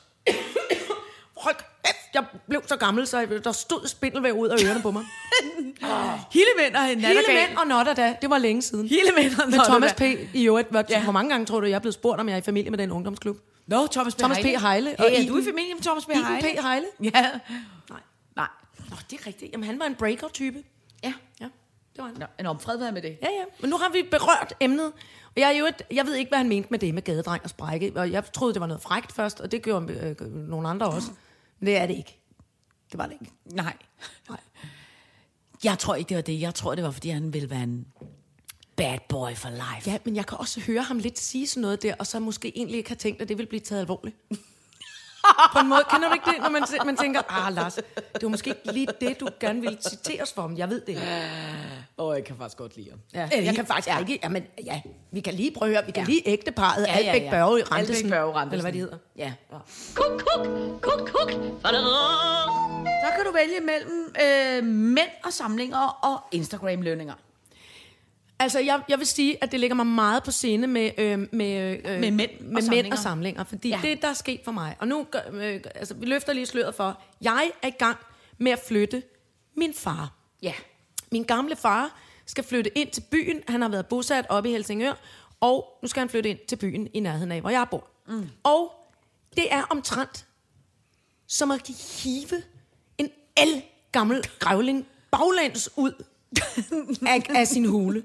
Speaker 4: Hold kæft, jeg blev så gammel, så jeg- der stod spindelvæv ud af ørerne på mig.
Speaker 3: Hildemænd og
Speaker 4: Hele mænd og notter da, det var længe siden.
Speaker 3: Hildemænd og
Speaker 4: Med Thomas P.
Speaker 3: Natterdag.
Speaker 4: i øvrigt. Hvor, ja.
Speaker 3: Ja.
Speaker 4: hvor mange gange tror du, jeg er blevet spurgt, om jeg er i familie med den ungdomsklub?
Speaker 3: Nå, Thomas P.
Speaker 4: Thomas P.
Speaker 3: Heile.
Speaker 4: Heile og
Speaker 3: Hey, er du
Speaker 4: Iben-
Speaker 3: i familie med Thomas P.
Speaker 4: Iben
Speaker 3: Heile?
Speaker 4: P. Heile?
Speaker 3: Ja.
Speaker 4: Nej.
Speaker 3: Nej.
Speaker 4: Nå, det er rigtigt. Jamen, han var en breaker-type.
Speaker 3: Ja.
Speaker 4: Ja, det var han.
Speaker 3: Nå, Nå, fred være med det.
Speaker 4: Ja, ja. Men nu har vi berørt emnet. Og jeg, er jo et, jeg ved ikke, hvad han mente med det med gadedreng og sprække. Og jeg troede, det var noget frækt først, og det gjorde øh, nogle andre også. Men det er det ikke. Det var det ikke.
Speaker 3: Nej.
Speaker 4: Nej.
Speaker 3: Jeg tror ikke, det var det. Jeg tror, det var, fordi han ville være en bad boy for life.
Speaker 4: Ja, men jeg kan også høre ham lidt sige sådan noget der, og så måske egentlig ikke har tænkt, at det vil blive taget alvorligt. <laughs> På en måde, kender du ikke det, når man, tæ- man tænker, ah Lars, det var måske ikke lige det, du gerne ville citeres for, men jeg ved det ikke.
Speaker 3: Åh, oh, jeg kan faktisk godt lide ham.
Speaker 4: Ja, jeg kan faktisk ja. rigtig, jamen, ja, vi kan lige prøve at høre, vi kan ja. lige ægteparret, ja,
Speaker 3: Ja, ja, ja.
Speaker 4: Albæk Børge Randesen,
Speaker 3: Albæk Børge Randesen.
Speaker 4: eller hvad de hedder.
Speaker 3: Ja.
Speaker 2: Kuk, kuk, kuk, kuk.
Speaker 3: Så kan du vælge mellem øh, mænd og samlinger og Instagram-lønninger.
Speaker 4: Altså, jeg, jeg vil sige, at det ligger mig meget på scene med, øh, med, øh,
Speaker 3: Med mænd og
Speaker 4: med og, mænd
Speaker 3: samlinger.
Speaker 4: og samlinger. Fordi ja.
Speaker 3: Ja.
Speaker 4: det, der er sket for mig, og nu gør, øh, altså, vi løfter lige sløret for, jeg er i gang med at flytte min far.
Speaker 3: Ja.
Speaker 4: Min gamle far skal flytte ind til byen. Han har været bosat oppe i Helsingør, og nu skal han flytte ind til byen i nærheden af, hvor jeg bor. Mm. Og det er omtrent som at hive en el gammel grævling baglæns ud af, af sin hule.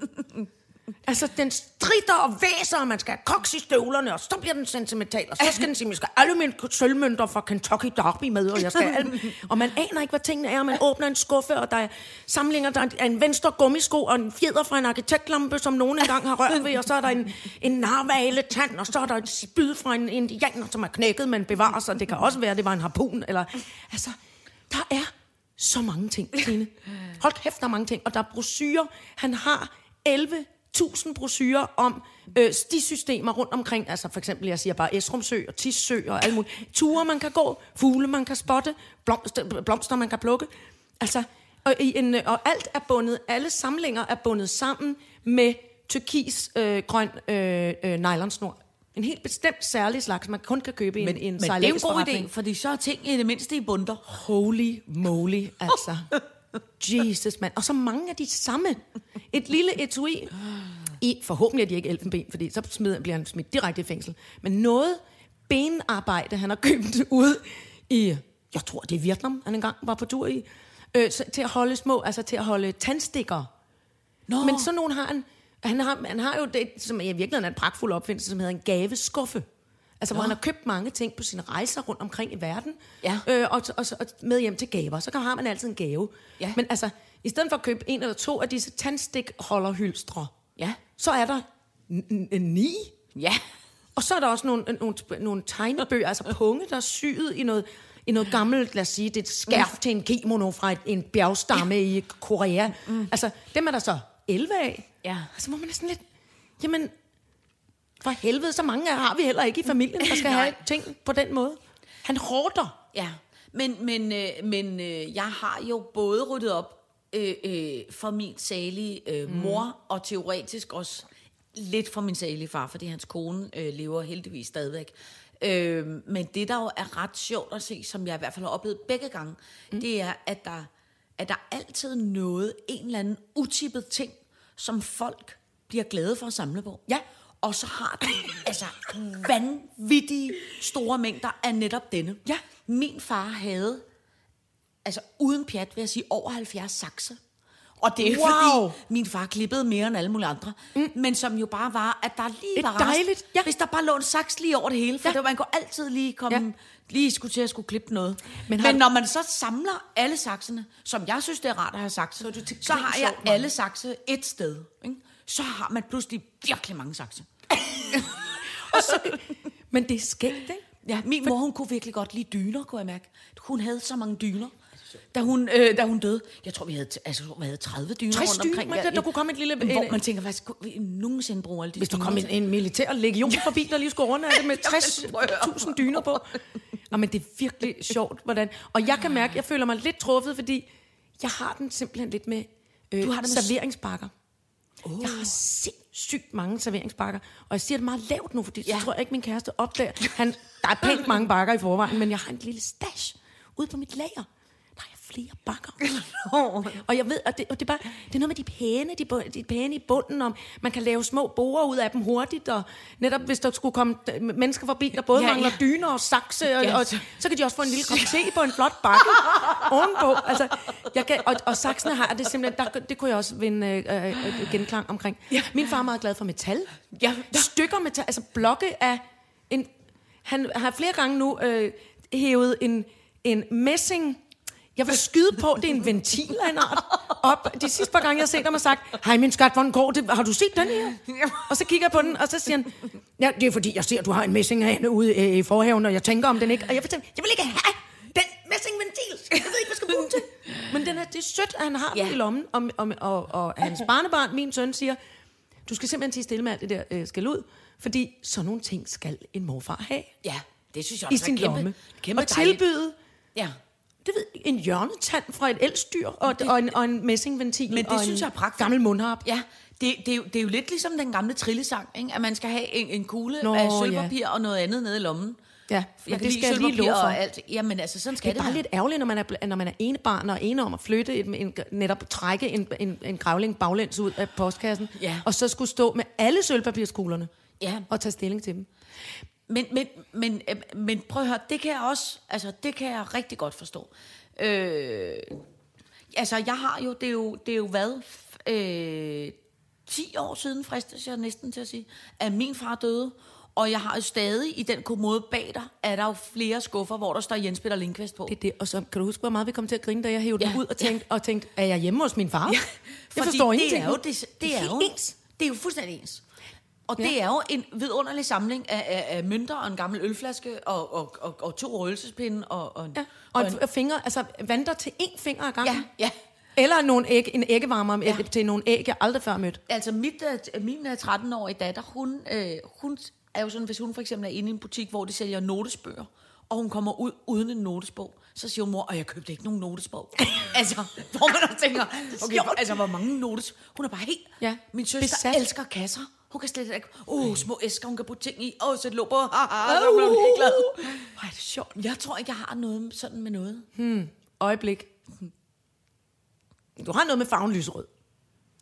Speaker 4: Altså, den strider og væser, og man skal have koks i støvlerne, og så bliver den sentimental, og så skal den sige, at jeg skal have alle mine sølvmønter fra Kentucky Derby med, og jeg skal have alle... Og man aner ikke, hvad tingene er, og man åbner en skuffe, og der er samlinger, der er en venstre gummisko, og en fjeder fra en arkitektlampe, som nogen engang har rørt ved, og så er der en, en narvale tand, og så er der et spyd fra en indianer, som er knækket, men bevarer sig. Det kan også være, at det var en harpun, eller... Altså, der er så mange ting,
Speaker 3: <laughs>
Speaker 4: Trine. Hold kæft, der er mange ting. Og der er brosyrer. Han har 11.000 brosyrer om øh, de systemer rundt omkring. Altså for eksempel, jeg siger bare Esrumsø og Tissø og alt muligt. Ture, man kan gå. Fugle, man kan spotte. Blomster, blomster man kan plukke. Altså, og, i en, øh, og alt er bundet. Alle samlinger er bundet sammen med tyrkis øh, grøn øh, øh, nylonsnor. En helt bestemt særlig slags, man kun kan købe i en, i en
Speaker 3: Men det er jo en god idé, fordi så er ting i det mindste i bunter.
Speaker 4: Holy moly, altså. Jesus, mand. Og så mange af de samme. Et lille etui. I, forhåbentlig er de ikke elfenben, fordi så smider, bliver han smidt direkte i fængsel. Men noget benarbejde, han har købt ud i, jeg tror det er Vietnam, han engang var på tur i, øh, så, til at holde små, altså til at holde tandstikker.
Speaker 3: Nå.
Speaker 4: Men sådan nogen har han, han har, han har jo det, som i virkeligheden er en pragtfuld opfindelse, som hedder en gaveskuffe. Altså, hvor han har købt mange ting på sine rejser rundt omkring i verden,
Speaker 3: Ja.
Speaker 4: øh, og, og, og med hjem til gaver. Så kan- har man altid en gave.
Speaker 3: Ja.
Speaker 4: Men altså, i stedet for at købe en eller to af disse tandstikholderhylstre,
Speaker 3: Ja.
Speaker 4: så er der n- n- ni.
Speaker 3: Ja.
Speaker 4: Og så er der også nogle, nogle, nogle tegnebøger, altså punge, der er syet i noget, i noget gammelt, lad os sige, det er et skærf til en kimono fra et, en bjergstamme ja. i Korea. Mm. Altså, dem er der så 11 af.
Speaker 3: Ja.
Speaker 4: Altså, hvor man er sådan lidt, jamen, for helvede, så mange har vi heller ikke i familien, der skal have ting på den måde. Han hårder.
Speaker 3: Ja, men, men, øh, men øh, jeg har jo både ryddet op øh, øh, for min salige
Speaker 4: Mm.
Speaker 3: øh, mor, og teoretisk også lidt for min salige far, fordi hans kone øh, lever heldigvis stadigvæk. Øh, men det, der jo er ret sjovt at se, som jeg i hvert fald har oplevet begge gange, mm. det er, at der, at der altid er noget, en eller anden utippet ting, som folk bliver glade for at samle på.
Speaker 4: Ja.
Speaker 3: Og så har de altså vanvittige store mængder af netop denne.
Speaker 4: Ja.
Speaker 3: Min far havde, altså uden pjat vil jeg sige, over 70 sakse. Og det er ikke
Speaker 4: Wow.
Speaker 3: fordi, min far klippede mere end alle mulige andre. Mm. Men som jo bare var, at der lige
Speaker 4: Et
Speaker 3: var rest,
Speaker 4: dejligt- ja.
Speaker 3: Hvis der bare lå en saks lige over det hele. For
Speaker 4: Ja.
Speaker 3: ja. det, man kunne altid lige komme...
Speaker 4: Ja.
Speaker 3: Ja. Lige skulle til at skulle klippe noget.
Speaker 4: Men
Speaker 3: Men,
Speaker 4: har
Speaker 3: men
Speaker 4: du-
Speaker 3: når man så samler alle saksene, som jeg synes, det er rart at have sakse, så,
Speaker 4: til
Speaker 3: så har
Speaker 4: grin
Speaker 3: jeg
Speaker 4: sjov, mand.
Speaker 3: alle sakse et sted. Ikke? Så har man pludselig virkelig mange sakse.
Speaker 4: Men det er skægt, ikke?
Speaker 3: Ja, min mor, hun kunne virkelig godt lide dyner, kunne jeg mærke. Hun havde så mange dyner. Da hun, øh, da hun døde, jeg tror, vi havde, t- altså, vi havde 30 dyner
Speaker 4: 60
Speaker 3: rundt omkring.
Speaker 4: dyner, der-
Speaker 3: hver-
Speaker 4: der kunne komme et lille-
Speaker 3: Hvor
Speaker 4: en-
Speaker 3: man tænker, hvad skulle vi nogensinde bruge alle de
Speaker 4: Hvis der
Speaker 3: dyner
Speaker 4: kom en,
Speaker 3: til?
Speaker 4: en militær legion forbi, der lige skulle runde af det med <laughs> 60.000 dyner på. Nå, men det er virkelig sjovt, hvordan... Og jeg kan mærke, jeg føler mig lidt truffet, fordi jeg har den simpelthen lidt med, øh, du har det med serveringspakker. Oh. Jeg har sindssygt mange serveringspakker, og jeg siger det meget lavt nu, fordi ja.
Speaker 3: Ja.
Speaker 4: så tror jeg ikke, min kæreste opdager. Han, der er pænt mange bakker i forvejen, men jeg har en lille stash ude på mit lager. Der er flere bakker. Og jeg ved, og det, og det, er bare, det er noget med de pæne, de, bu- de pæne i bunden, om man kan lave små borer ud af dem hurtigt, og netop hvis der skulle komme øh, mennesker forbi, der både ja,
Speaker 3: Ja,
Speaker 4: mangler
Speaker 3: ja.
Speaker 4: dyner og sakse, og,
Speaker 3: Ja.
Speaker 4: og, så kan de også få en lille kop te på en flot <laughs> bakke ovenpå. Altså, jeg kan, og, og saksene har det simpelthen, der, det kunne jeg også vinde øh, øh, øh, genklang omkring. Ja. Min far er meget glad for metal.
Speaker 3: Ja.
Speaker 4: Stykker metal, altså blokke af en... Han har flere gange nu øh, hævet en, en messing... Jeg vil skyde på, det er en ventil af en art. Op. De sidste par gange, jeg har set ham og sagt, hej min skat, hvordan går det? Har du set den her? Og så kigger jeg på den, og så siger han, ja, det er fordi, jeg ser, at du har en messing herinde ude øh, i forhaven, og jeg tænker om den ikke. Og jeg fortæller, jeg vil ikke have den messingventil. Jeg ved ikke, hvad jeg skal bruge den til. Men den er, det er sødt, at han har ja.
Speaker 3: Ja.
Speaker 4: den i lommen. Og, og, og, og hans barnebarn, min søn, siger, du skal simpelthen tage stille med alt det der øh, skal ud, fordi sådan nogle ting skal en morfar have
Speaker 3: Ja, det synes jeg
Speaker 4: i
Speaker 3: også
Speaker 4: sin
Speaker 3: er kæmpe,
Speaker 4: lomme.
Speaker 3: kæmpe
Speaker 4: og
Speaker 3: dejligt.
Speaker 4: tilbyde
Speaker 3: Ja.
Speaker 4: det ved jeg, en hjørnetand fra et elstyr og, det, og, en, og en messingventil.
Speaker 3: Men det
Speaker 4: og
Speaker 3: synes
Speaker 4: en
Speaker 3: jeg er pragtfuldt.
Speaker 4: Gammel mundharp.
Speaker 3: Ja, det, det, er jo, det er jo lidt ligesom den gamle trillesang, ikke? at man skal have en, en kugle
Speaker 4: Nå,
Speaker 3: Nå, af sølvpapir ja. og noget andet nede i lommen.
Speaker 4: Ja, men
Speaker 3: jeg kan
Speaker 4: det
Speaker 3: lide
Speaker 4: skal jeg lige
Speaker 3: sølvpapir
Speaker 4: love for.
Speaker 3: og alt. Jamen altså, sådan skal
Speaker 4: Det
Speaker 3: det,
Speaker 4: er bare
Speaker 3: være.
Speaker 4: lidt ærgerligt, når man er, bl- når man er ene barn og ene om at flytte, et, en, netop trække en, en, en gravling baglæns ud af postkassen,
Speaker 3: Ja.
Speaker 4: og så skulle stå med alle sølvpapirskuglerne
Speaker 3: Ja.
Speaker 4: og tage stilling til dem.
Speaker 3: Men, men, men, øh, men prøv at høre, det kan jeg også, altså det kan jeg rigtig godt forstå. Øh, altså jeg har jo, det er jo, det er jo hvad, f- øh, 10 år siden, fristes jeg næsten til at sige, at min far døde. Og jeg har jo stadig i den kommode bag dig, er der jo flere skuffer, hvor der står Jens Peter Lindqvist på.
Speaker 4: Det er det. Og så kan du huske, hvor meget vi kom til at grine, da jeg hævde ja.
Speaker 3: Ja.
Speaker 4: den ud og tænkte, og tænkte, er jeg hjemme hos min far? Ja. Jeg
Speaker 3: Fordi
Speaker 4: forstår
Speaker 3: det
Speaker 4: ingenting.
Speaker 3: Er jo, det, det er jo ens. Det er jo fuldstændig ens. Og ja. det er jo en vidunderlig samling af, af, af mønter og en gammel ølflaske og, og, og, og to røgelsespinde og, og, en-
Speaker 4: Ja. Og,
Speaker 3: en-
Speaker 4: en, og fingre, altså vandter til én finger ad gangen.
Speaker 3: Ja, ja.
Speaker 4: Eller nogle æg, en æggevarmer ja. til nogle æg, jeg aldrig før mødt.
Speaker 3: Altså mit, øh, min øh, 13-årige datter, hun, øh, hun er jo sådan, hvis hun for eksempel er inde i en butik, hvor de sælger notesbøger, og hun kommer ud uden en notesbog, så siger hun, mor, og jeg købte ikke nogen <laughs> notesbog. altså, hvor man også tænker, okay, hvor, altså hvor mange notes. Hun er bare helt,
Speaker 4: Ja,
Speaker 3: min søster
Speaker 4: besat.
Speaker 3: besat. elsker kasser. Hun kan slet ikke, åh, oh, små æsker, hun kan putte ting i, åh, oh, sæt lå på, haha, så bliver hun helt glad. Hvor er det sjovt. Jeg tror ikke, jeg har noget sådan med noget.
Speaker 4: Øjeblik. Du har noget med farven lysrød.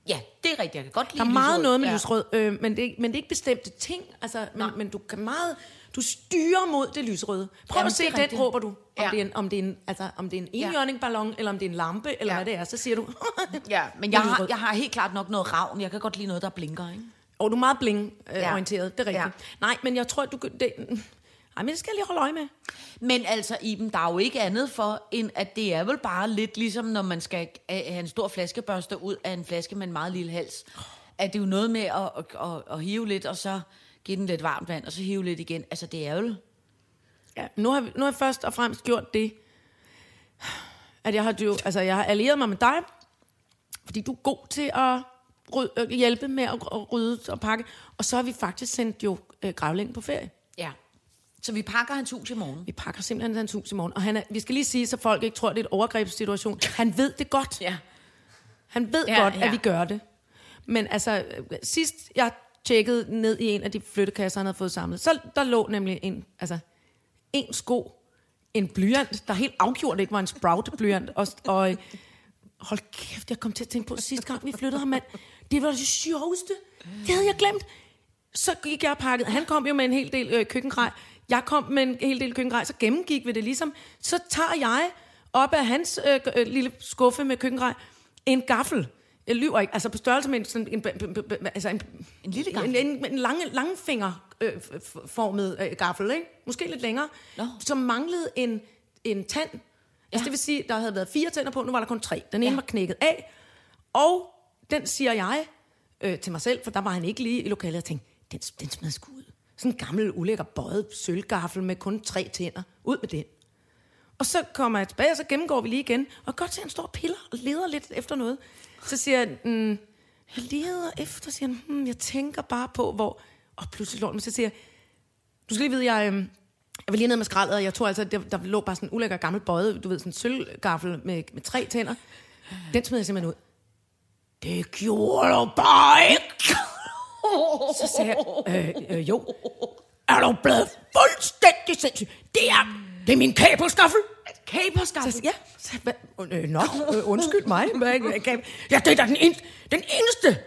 Speaker 3: Ja, det er rigtigt, jeg kan godt lide
Speaker 4: Der er meget
Speaker 3: lyserød.
Speaker 4: noget med
Speaker 3: Ja.
Speaker 4: lysrød, øh, men, det, er ikke- men det er ikke bestemte ting. Altså, men, men du kan meget... Du styrer mod det lysrøde. Prøv
Speaker 3: Jamen,
Speaker 4: at se,
Speaker 3: det er
Speaker 4: den
Speaker 3: rigtigt.
Speaker 4: råber du. Om,
Speaker 3: Ja.
Speaker 4: det er en, om det er en, altså, om det er en enhjørningballon, eller om det er en lampe, eller
Speaker 3: Ja.
Speaker 4: hvad det er. Så siger du...
Speaker 3: <laughs> Ja, men jeg har,
Speaker 4: Lyserød.
Speaker 3: jeg har helt klart nok noget ravn. Jeg kan godt lide noget, der blinker, ikke?
Speaker 4: Og du er meget bling-orienteret,
Speaker 3: Ja.
Speaker 4: øh, orienteret, det er rigtigt. Ja. Nej, men jeg tror, du... kan- Det, ej, men det skal jeg lige holde øje med.
Speaker 3: Men altså, Iben, der er jo ikke andet for, end at det er vel bare lidt ligesom, når man skal øh, have en stor flaskebørste ud af en flaske med en meget lille hals. At det er jo noget med at, at, at, at hive lidt, og så give den lidt varmt vand, og så hive lidt igen. Altså, det er vel...
Speaker 4: Ja. Nu, har, vi- nu har jeg først og fremmest gjort det, at jeg har, jo, altså, jeg har allieret mig med dig, fordi du er god til at ryd, øh, hjælpe med at, at rydde og pakke. Og så har vi faktisk sendt jo øh, gravlingen på ferie.
Speaker 3: Ja. Så vi pakker hans hus i morgen.
Speaker 4: Vi pakker simpelthen hans hus i morgen. Og han er, vi skal lige sige, så folk ikke tror, det er et overgrebssituation. Han ved det godt.
Speaker 3: Ja.
Speaker 4: Han ved
Speaker 3: Ja,
Speaker 4: ja, godt, ja.
Speaker 3: ja.
Speaker 4: at vi gør det. Men altså, øh, sidst jeg tjekkede ned i en af de flyttekasser, han havde fået samlet, så der lå nemlig en, altså, en sko, en blyant, der helt afgjort ikke var en sprout-blyant, og, og øh, hold kæft, jeg kom til at tænke på sidste gang, vi flyttede ham, mand. Det var det sjoveste. Det havde jeg glemt. Så gik jeg og pakkede. Han kom jo med en hel del øh, køkkengrej. Jeg kom med en hel del køkkengrej, så gennemgik vi det ligesom. Så tager jeg op af hans øh, øh, lille skuffe med køkkengrej en gaffel. Jeg lyver ikke. Altså på størrelse med en, sådan en, b- b- b- altså en,
Speaker 3: En lille gaffel?
Speaker 4: En, en, en lange, øh, langfingerformet øh, gaffel, ikke? Måske lidt længere.
Speaker 3: Nå.
Speaker 4: Som manglede en, en tand. Ja. Altså det vil sige, der havde været fire tænder på, nu var der kun tre. Den ene
Speaker 3: Ja.
Speaker 4: var knækket af, og den siger jeg øh, til mig selv, for der var han ikke lige i lokalet, og tænkte, den, den smed jeg sgu ud. Sådan en gammel, ulækker, bøjet sølvgaffel med kun tre tænder. Ud med den. Og så kommer jeg tilbage, og så gennemgår vi lige igen. Og godt se, han står og piller og leder lidt efter noget. Så siger han, mm, jeg leder efter, siger han, hmm, jeg tænker bare på, hvor... Og pludselig lå den, men så siger jeg, du skal lige vide, jeg, øhm, jeg var lige nede med skraldet, og jeg tror altså, der, der lå bare sådan en ulækker gammel bøjet, du ved, sådan en sølvgaffel med, med tre tænder. Den smed jeg simpelthen ud. Det gjorde du bare ikke! Så sagde jeg, øh, øh, jo. Er du blevet fuldstændig sindssyg? Det er, det er min kaberskaffel.
Speaker 3: Kaberskaffel?
Speaker 4: Så, ja. Så, jeg, hvad, øh, nå, øh, undskyld mig. Hvad, er gaffel? ja, det er da den, en, den eneste.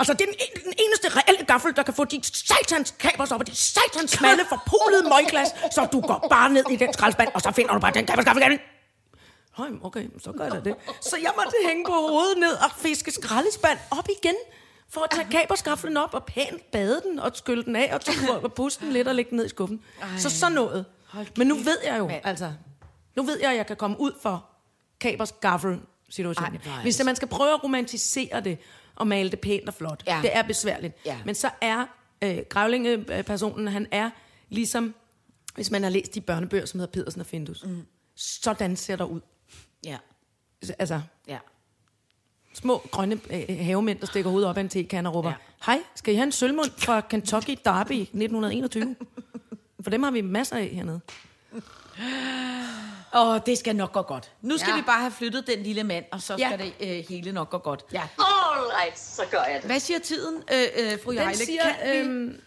Speaker 4: Altså, det er den, en- den eneste reelle gaffel, der kan få de satans kabers op, og de satans smalle forpolede møgglas, så du går bare ned i den skraldspand, og så finder du bare den kaberskaffel igen. Høj, okay, så gør jeg da det. Så jeg måtte hænge på hovedet ned og fiske skraldespand op igen, for at tage kaberskaflen op og pænt bade den og skylle den af og, tog- og puste den lidt og lægge den ned i skuffen. Ej. Så sådan noget. Men nu ved jeg jo,
Speaker 3: mand.
Speaker 4: altså, nu ved jeg, at jeg kan komme ud for kaberskaffel situationen.
Speaker 3: Ej, hvor er det
Speaker 4: Hvis man skal prøve at romantisere det og male det pænt og flot,
Speaker 3: Ja.
Speaker 4: det er besværligt.
Speaker 3: Ja.
Speaker 4: Men så er øh, grævlingepersonen, han er ligesom, hvis man har læst de børnebøger, som hedder Pedersen og Findus. Mm. Sådan ser der ud
Speaker 3: Ja.
Speaker 4: altså,
Speaker 3: Ja.
Speaker 4: små grønne øh, havemænd, der stikker hovedet op af en tekande og råber,
Speaker 3: Ja.
Speaker 4: ja. hej, skal I have en sølvmund fra Kentucky Derby 1921? <laughs> For dem har vi masser af hernede.
Speaker 3: Og det skal nok gå godt. Nu skal ja.
Speaker 4: Ja.
Speaker 3: vi bare have flyttet den lille mand, og så
Speaker 4: Ja.
Speaker 3: skal det øh, hele nok gå godt.
Speaker 4: Ja.
Speaker 2: Alright, så gør jeg det.
Speaker 3: Hvad siger tiden, øh, øh, fru Jejle?
Speaker 4: siger, øh,
Speaker 3: kan, vi, øhm,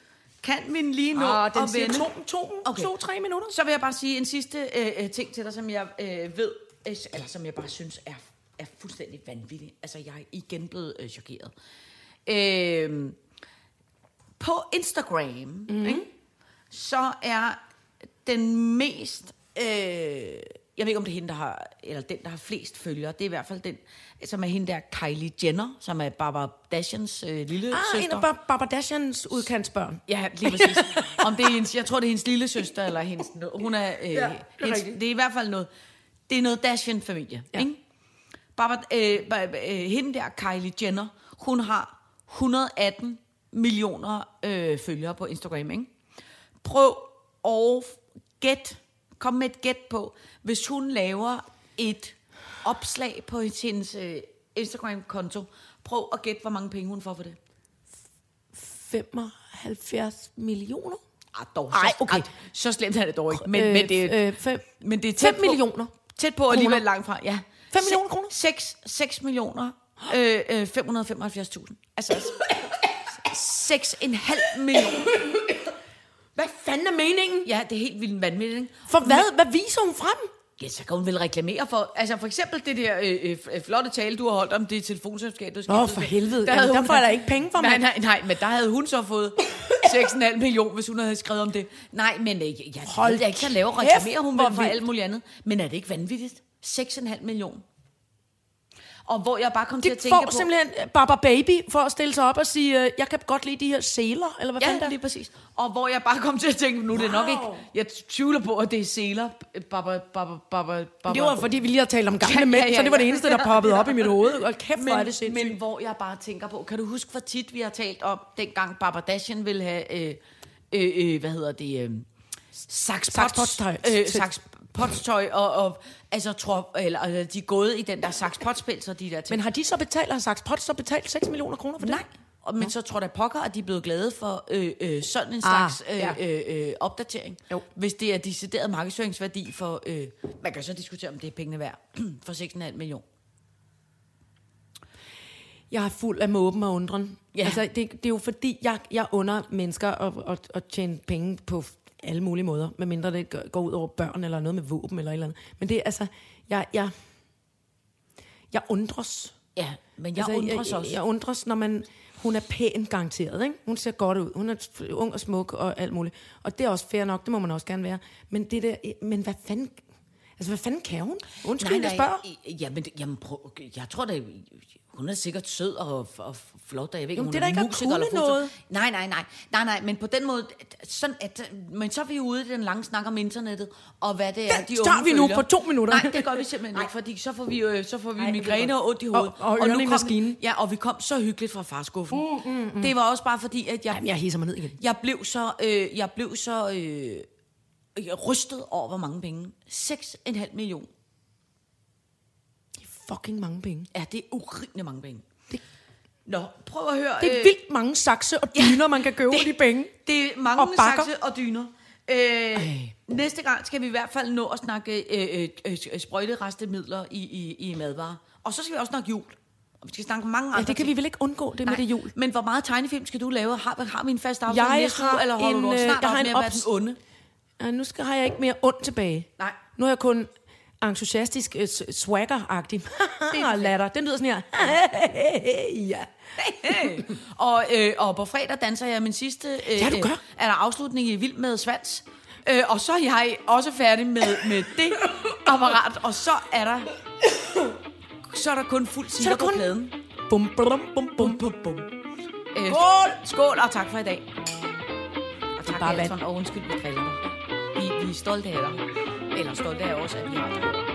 Speaker 3: kan vi lige nå
Speaker 4: Nå,
Speaker 3: at
Speaker 4: den siger
Speaker 3: vende?
Speaker 4: to, to,
Speaker 3: Okay.
Speaker 4: okay. to, tre minutter.
Speaker 3: Så vil jeg bare sige en sidste øh, øh, ting til dig, som jeg øh, ved, øh, eller som jeg bare synes er, er fuldstændig vanvittig. Altså, jeg er igen blevet øh, chokeret. Øh, på Instagram,
Speaker 4: Mhm.
Speaker 3: mm. ikke, så er den mest øh, jeg ved ikke, om det er hende, der har, eller den, der har flest følgere. Det er i hvert fald den, som er hende der Kylie Jenner, som er Barbara Dashians øh, lille
Speaker 4: Ah, en
Speaker 3: søster.
Speaker 4: af Bar- Barbadashians udkantsbørn.
Speaker 3: Ja, lige præcis. Om det er hendes, jeg tror, det er hendes lille søster, eller hendes... Hun er... Øh, ja, det, er hendes,
Speaker 4: rigtigt.
Speaker 3: det er i hvert fald noget... Det er noget Dashian-familie, ja. ikke? Barbara, øh, ba- ba- øh, hende der, Kylie Jenner, hun har 118 millioner øh, følgere på Instagram, ikke? Prøv at gæt, kom med et gæt på, hvis hun laver et opslag på hendes øh, Instagram-konto, prøv at gætte, hvor mange penge hun får for det.
Speaker 4: 75 millioner?
Speaker 3: Ah, dog,
Speaker 4: Ej,
Speaker 3: så,
Speaker 4: okay.
Speaker 3: Ej, så slemt er det dog ikke. Men, øh, men, det,
Speaker 4: øh, fem,
Speaker 3: men det er tæt
Speaker 4: fem
Speaker 3: på,
Speaker 4: millioner.
Speaker 3: Tæt på og alligevel
Speaker 4: kroner.
Speaker 3: langt fra, ja.
Speaker 4: Fem millioner kroner?
Speaker 3: 6, 6 millioner øh, øh, 575.000. Altså, altså 6,5 millioner.
Speaker 4: Hvad fanden er meningen?
Speaker 3: Ja, det er helt vildt vanvittigt, ikke?
Speaker 4: For hvad, hvad viser hun frem?
Speaker 3: Ja, så kan hun vel reklamere for... Altså, for eksempel det der øh, øh, f- øh, flotte tale, du har holdt om det telefonselskab, du skal...
Speaker 4: Nå,
Speaker 3: ud
Speaker 4: for
Speaker 3: til.
Speaker 4: helvede.
Speaker 3: havde
Speaker 4: Jamen, der
Speaker 3: hun-
Speaker 4: får jeg da ikke penge for,
Speaker 3: nej,
Speaker 4: mand.
Speaker 3: nej, nej, men der havde hun så
Speaker 4: <laughs>
Speaker 3: fået 6,5 millioner, hvis hun havde skrevet om det. Nej, men øh, jeg,
Speaker 4: Hold
Speaker 3: jeg, jeg ikke, så laver
Speaker 4: kæft,
Speaker 3: reklamerer hun vel
Speaker 4: hvor
Speaker 3: for
Speaker 4: vildt.
Speaker 3: alt muligt andet. Men er det ikke vanvittigt? 6,5 millioner. Og hvor jeg bare kom til at
Speaker 4: De
Speaker 3: tænke
Speaker 4: får
Speaker 3: på...
Speaker 4: simpelthen øh, Barbara Baby for at stille sig op og sige, øh, jeg kan godt lide de her sæler, eller hvad fanden
Speaker 3: Ja,
Speaker 4: der?
Speaker 3: lige præcis. Og hvor jeg bare kom til at tænke, nu er det nok
Speaker 4: Wow.
Speaker 3: ikke... Jeg tvivler på, at det er seler. Baba, baba, baba, baba.
Speaker 4: Det var fordi, vi lige har talt om gamle
Speaker 3: Ja,
Speaker 4: mænd,
Speaker 3: ja, ja,
Speaker 4: så det var det
Speaker 3: ja.
Speaker 4: eneste, der poppede op i mit hoved. Og kæft, hvor er det
Speaker 3: men,
Speaker 4: sindssygt.
Speaker 3: men hvor jeg bare tænker på, kan du huske, hvor tit vi har talt om, dengang Barbara Dashian ville have, øh, øh, øh, hvad hedder det, øh, Saks
Speaker 4: Saks
Speaker 3: Pots-
Speaker 4: Pots-tøj.
Speaker 3: øh, Saks Pots-tøj, og, og altså, tror, eller, eller, de er gået i den der Saks Pots-pels og de der ting.
Speaker 4: Men har de så betalt, har Saks Pot så betalt 6 millioner kroner for det?
Speaker 3: nej, og, men så tror der pokker, at de er blevet glade for øh, øh, sådan en
Speaker 4: Ah,
Speaker 3: slags ah,
Speaker 4: ja.
Speaker 3: ja. øh, øh, opdatering.
Speaker 4: Jo.
Speaker 3: Hvis det er decideret markedsføringsværdi for, øh, man kan så diskutere, om det er pengene værd, <clears throat> for 6,5 millioner.
Speaker 4: Jeg er fuld af måben og undren. Ja.
Speaker 3: Ja.
Speaker 4: Altså, det, det er jo fordi, jeg, jeg under mennesker at, at, at tjene penge på alle mulige måder, medmindre det går- går ud over børn eller noget med våben eller et eller andet. Men det er altså, jeg, jeg, jeg undres.
Speaker 3: Ja, men jeg altså, undres
Speaker 4: jeg,
Speaker 3: også.
Speaker 4: Jeg undres, når man... Hun er pæn garanteret, ikke? Hun ser godt ud. Hun er f- ung og smuk og alt muligt. Og det er også fair nok, det må man også gerne være. Men det der... Men hvad fanden... Altså, hvad fanden kan hun? Undskyld, jeg spørger.
Speaker 3: øh, Jamen, det- jamen prøv, jeg tror da, hun er sikkert sød og, og flot, og jeg ved ikke,
Speaker 4: Jamen,
Speaker 3: om hun
Speaker 4: det er da ikke at
Speaker 3: musiker
Speaker 4: kunne
Speaker 3: eller foto-
Speaker 4: noget.
Speaker 3: Nej, nej, nej, nej, nej, men på den måde, sådan at, men så er vi jo ude i den lange snak om internettet, og hvad det er,
Speaker 4: Den
Speaker 3: de
Speaker 4: tager
Speaker 3: unge
Speaker 4: vi nu
Speaker 3: følger.
Speaker 4: på to minutter.
Speaker 3: Nej, det gør vi simpelthen ikke, fordi så får vi, øh, så får vi
Speaker 4: Ej,
Speaker 3: Ej,
Speaker 4: det ved jeg
Speaker 3: migræne
Speaker 4: godt.
Speaker 3: og ondt i hovedet.
Speaker 4: Og- og ørerne i
Speaker 3: kom,
Speaker 4: maskinen.
Speaker 3: Ja, og vi kom så hyggeligt fra farskuffen. Mm, mm, mm. Det var også bare fordi, at jeg...
Speaker 4: Jamen, jeg hisser mig ned igen.
Speaker 3: Jeg blev så, øh, jeg blev så øh, jeg rystet over, hvor mange penge. 6,5 millioner.
Speaker 4: Fucking mange penge.
Speaker 3: Ja, det er urimelig mange penge. Det... Nå, prøv at høre.
Speaker 4: Det er
Speaker 3: øh,
Speaker 4: vildt mange sakse og dyner, ja, man kan købe for de penge.
Speaker 3: Det er
Speaker 4: Og
Speaker 3: mange
Speaker 4: bakker.
Speaker 3: sakse og dyner. Øh, næste gang skal vi i hvert fald nå at snakke øh, øh, øh, sprøjterestemidler i, i, i madvarer. Og så skal vi også snakke jul. Og vi skal snakke om mange andre
Speaker 4: Ja, det kan
Speaker 3: ting.
Speaker 4: vi vel ikke undgå, det med det jul.
Speaker 3: Men hvor meget tegnefilm skal du lave? Har, har vi en fast aftale
Speaker 4: Jeg
Speaker 3: næste
Speaker 4: har
Speaker 3: uge, eller holder
Speaker 4: en,
Speaker 3: du
Speaker 4: øh,
Speaker 3: os snart
Speaker 4: jeg har
Speaker 3: op
Speaker 4: en
Speaker 3: med at være den
Speaker 4: ops-
Speaker 3: onde?
Speaker 4: Ja, nu skal, har jeg ikke mere ondt tilbage.
Speaker 3: Nej.
Speaker 4: Nu er jeg kun entusiastisk øh, s- swagger-agtig. og <laughs> latter. Den lyder sådan her. <laughs> ja.
Speaker 3: Og, øh, og på fredag danser jeg min sidste øh,
Speaker 4: Ja, du gør.
Speaker 3: øh, er der afslutning i Vild med Svans. Øh, og så er jeg også færdig med, med det apparat, og så er der så er der kun fuld
Speaker 4: er der
Speaker 3: sikker på
Speaker 4: kun-
Speaker 3: pladen.
Speaker 4: Bum, bum, bum, bum.
Speaker 3: bum, bum. Øh, skål! Skål, og tak for i dag. Og tak,
Speaker 4: bare
Speaker 3: Anton, og undskyld, vi driller dig. Vi, vi er stolte af dig. Eller stolte af os, at vi har dig.